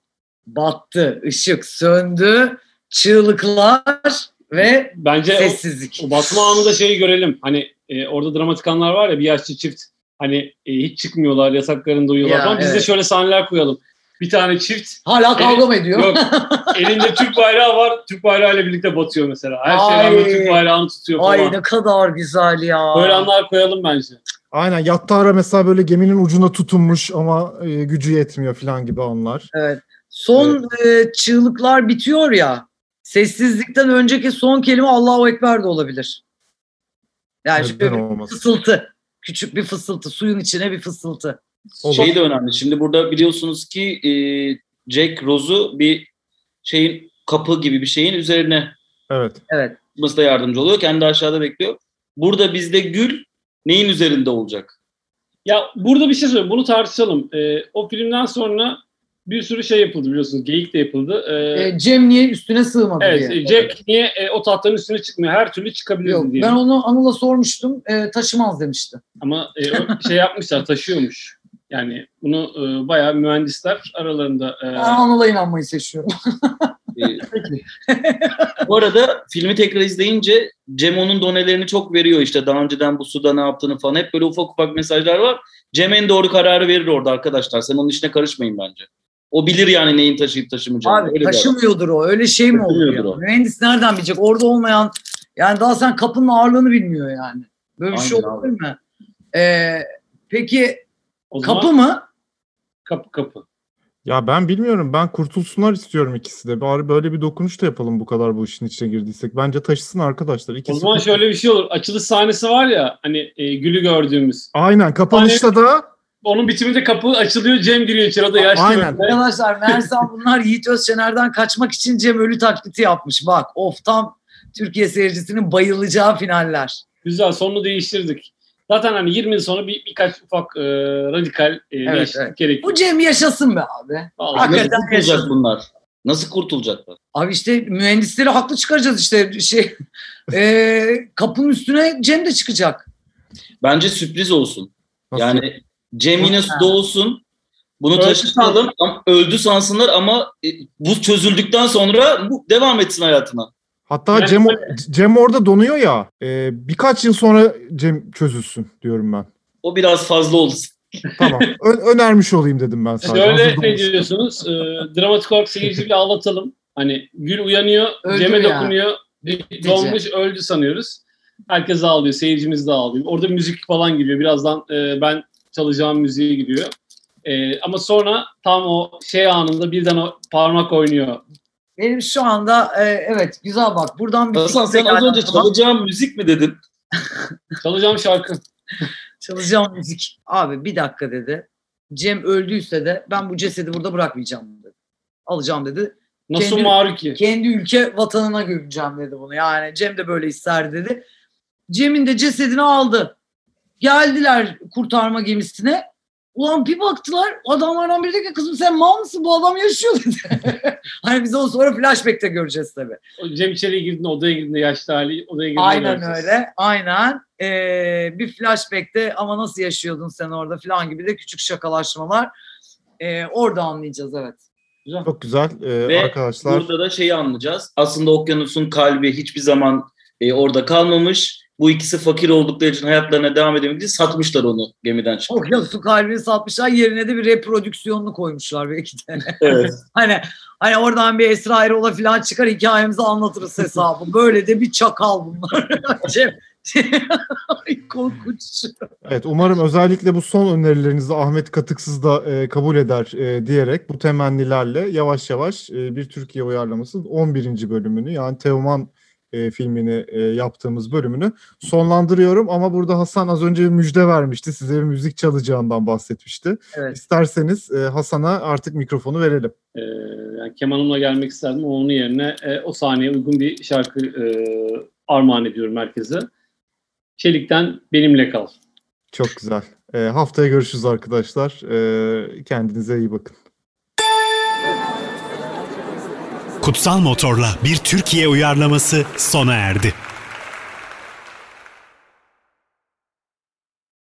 C: battı, ışık söndü, çığlıklar ve
D: bence o-
C: sessizlik.
D: O batma anında şeyi görelim. Hani e, orada dramatik anlar var ya bir yaşlı çift hani e, hiç çıkmıyorlar yasaklarında uyuyorlar
C: Ya,
D: falan. Biz de
C: evet.
D: şöyle sahneler koyalım. Bir tane çift
C: Hala kavga mı ediyor?
D: yok elinde Türk bayrağı var. Türk bayrağıyla birlikte batıyor mesela. Her
C: Ay.
D: şey rağmen Türk bayrağını tutuyor falan.
C: Ay ne kadar güzel ya.
D: Böyle anlar koyalım bence.
B: Aynen Yattara mesela böyle geminin ucuna tutunmuş ama e, gücü yetmiyor falan gibi anlar.
C: Evet. Son e, çığlıklar bitiyor ya. Sessizlikten önceki son kelime Allahu Ekber de olabilir. Yani şöyle
B: Neden
C: bir
B: olmasın?
C: fısıltı. Küçük bir fısıltı. Suyun içine bir fısıltı.
E: Şey de önemli. Şimdi burada biliyorsunuz ki e, Jack Rose'u bir şeyin kapı gibi bir şeyin üzerine
B: Evet.
C: Evet.
E: tutması da yardımcı oluyor. Kendi aşağıda bekliyor. Burada bizde gül neyin üzerinde olacak?
D: Ya burada bir şey söyleyeyim. Bunu tartışalım. E, o filmden sonra bir sürü şey yapıldı biliyorsunuz. Geyik de yapıldı. E,
C: E, Cem niye üstüne sığmadı
D: evet.
C: diye.
D: e, Jack niye e, o tahtanın üstüne çıkmıyor? Her türlü
C: Yok,
D: çıkabilirdi diye.
C: ben onu Anıl'a sormuştum. E, taşımaz demişti.
D: Ama e, o şey yapmışlar, taşıyormuş. Yani bunu e, bayağı mühendisler aralarında e,
C: Ben Anıl'a inanmayı seçiyorum.
E: Ee, bu arada filmi tekrar izleyince Cem onun donelerini çok veriyor işte daha önceden bu suda ne yaptığını falan hep böyle ufak ufak mesajlar var. Cem en doğru kararı verir orada arkadaşlar. Sen onun işine karışmayın bence. O bilir yani neyin taşıyıp taşımayacağını. Öyle
C: Abi
E: bir adam.
C: taşımıyordur o. Öyle şey mi olur ya?
E: Taşımıyordur o.
C: Mühendis nereden bilecek? Orada olmayan yani daha sen kapının ağırlığını bilmiyor yani. Böyle bir şey
E: Aynen
C: olur mu? E, peki
D: o zaman
C: kapı mı?
D: kapı kapı.
B: Ya ben bilmiyorum. Ben kurtulsunlar istiyorum ikisi de. Bari böyle bir dokunuş da yapalım bu kadar bu işin içine girdiysek. Bence taşısın arkadaşlar.
D: O
B: İkisi
D: zaman
B: kurtul-
D: şöyle bir şey olur. Açılış sahnesi var ya hani e, gülü gördüğümüz.
B: Aynen. Kapanışta da
D: Onun bitiminde kapı açılıyor, Cem giriyor içeri. O da
B: A-
D: yaşlı
B: aynen.
D: böyle.
C: Arkadaşlar meğersem bunlar Yiğit Özşener'den kaçmak için Cem Ölü taklidi yapmış. Bak of tam Türkiye seyircisinin bayılacağı finaller.
D: Güzel, sonunu değiştirdik. Zaten hani 20 yıl sonra bir, birkaç ufak e, radikal e, değişiklik
C: evet.
D: gerekiyor.
C: Bu Cem yaşasın be abi.
D: Vallahi.
E: Nasıl
C: Hakikaten yaşasın.
E: kurtulacak bunlar? Nasıl kurtulacaklar?
C: Abi işte mühendisleri haklı çıkaracağız işte şey eee, kapının üstüne Cem de çıkacak.
E: Bence sürpriz olsun.
B: Nasıl?
E: Yani Cem yine suda olsun. Bunu
D: Öldü
E: taşıtalım. Ama- Öldü sansınlar ama e, bu çözüldükten sonra bu devam etsin hayatına.
B: hatta
D: Yani
B: Cem Cem orada donuyor ya. Ee, birkaç yıl sonra Cem çözülsün diyorum ben.
E: O biraz fazla olsun.
B: Tamam. Ö- önermiş olayım dedim ben sadece.
D: Şöyle
B: Hazır
D: ne
B: donuyorsun.
D: diyorsunuz? E, dramatik olarak seyirciyi bile ağlatalım. Hani gül uyanıyor,
C: Öldü
D: Cem'e
C: yani.
D: dokunuyor. Donmuş, öldü sanıyoruz. Herkes ağlıyor, seyircimiz de ağlıyor. Orada müzik falan giriyor. Birazdan e, ben çalacağım müziğe giriyor. E, ama sonra tam o şey anında birden o parmak oynuyor.
C: Benim şu anda e, evet güzel bak buradan bir
E: Hasan sen
C: fikre
E: az
C: geldim.
E: önce çalacağım müzik mi dedin?
D: Çalacağım şarkı.
C: Çalacağım müzik. Abi bir dakika dedi. Cem öldüyse de ben bu cesedi burada bırakmayacağım dedi. Alacağım dedi.
D: Nasıl
C: Kendi-
D: Maruki?
C: Kendi ülke vatanına gömeceğim dedi bunu. Yani Cem de böyle ister dedi. Cem'in de cesedini aldı. Geldiler kurtarma gemisine. Ulan bir baktılar adamlardan biri dedi ki kızım sen mal mısın bu adam yaşıyor dedi. hani biz onu sonra flashback'te göreceğiz tabii.
D: Cem içeriye girdiğinde, odaya girdiğinde yaşlı hali, odaya girdiğinde
C: Aynen
D: göreceğiz.
C: öyle. Aynen. Ee, bir flashback'te ama nasıl yaşıyordun sen orada falan gibi de küçük şakalaşmalar. Ee, orada anlayacağız evet.
D: Güzel.
B: Çok güzel e,
E: Ve
B: arkadaşlar.
E: Burada da şeyi anlayacağız. Aslında okyanusun kalbi hiçbir zaman e, orada kalmamış. Bu ikisi fakir oldukları için hayatlarına devam edemediği satmışlar onu gemiden çıkıp.
C: Oh ya su kalbini satmışlar yerine de bir reprodüksiyonunu koymuşlar belki de.
E: Evet.
C: Hani hani oradan bir Esra Erol'a falan çıkar hikayemizi anlatırız hesabı. Böyle de bir çakal bunlar. Cem. Ay, Korkunç.
B: Evet umarım özellikle bu son önerilerinizi Ahmet Katıksız da e, kabul eder e, diyerek bu temennilerle yavaş yavaş e, bir Türkiye uyarlamasının 11. bölümünü yani Teoman e, filmini e, yaptığımız bölümünü sonlandırıyorum ama burada Hasan az önce bir müjde vermişti. Size bir müzik çalacağından bahsetmişti.
C: Evet.
B: İsterseniz e, Hasan'a artık mikrofonu verelim.
D: Ee, yani kemanımla gelmek isterdim ama onun yerine e, o sahneye uygun bir şarkı e, armağan ediyorum herkese. Çelik'ten Benimle Kal.
B: Çok güzel. E, haftaya görüşürüz arkadaşlar. E, kendinize iyi bakın.
A: Kutsal Motor'la bir Türkiye uyarlaması sona erdi.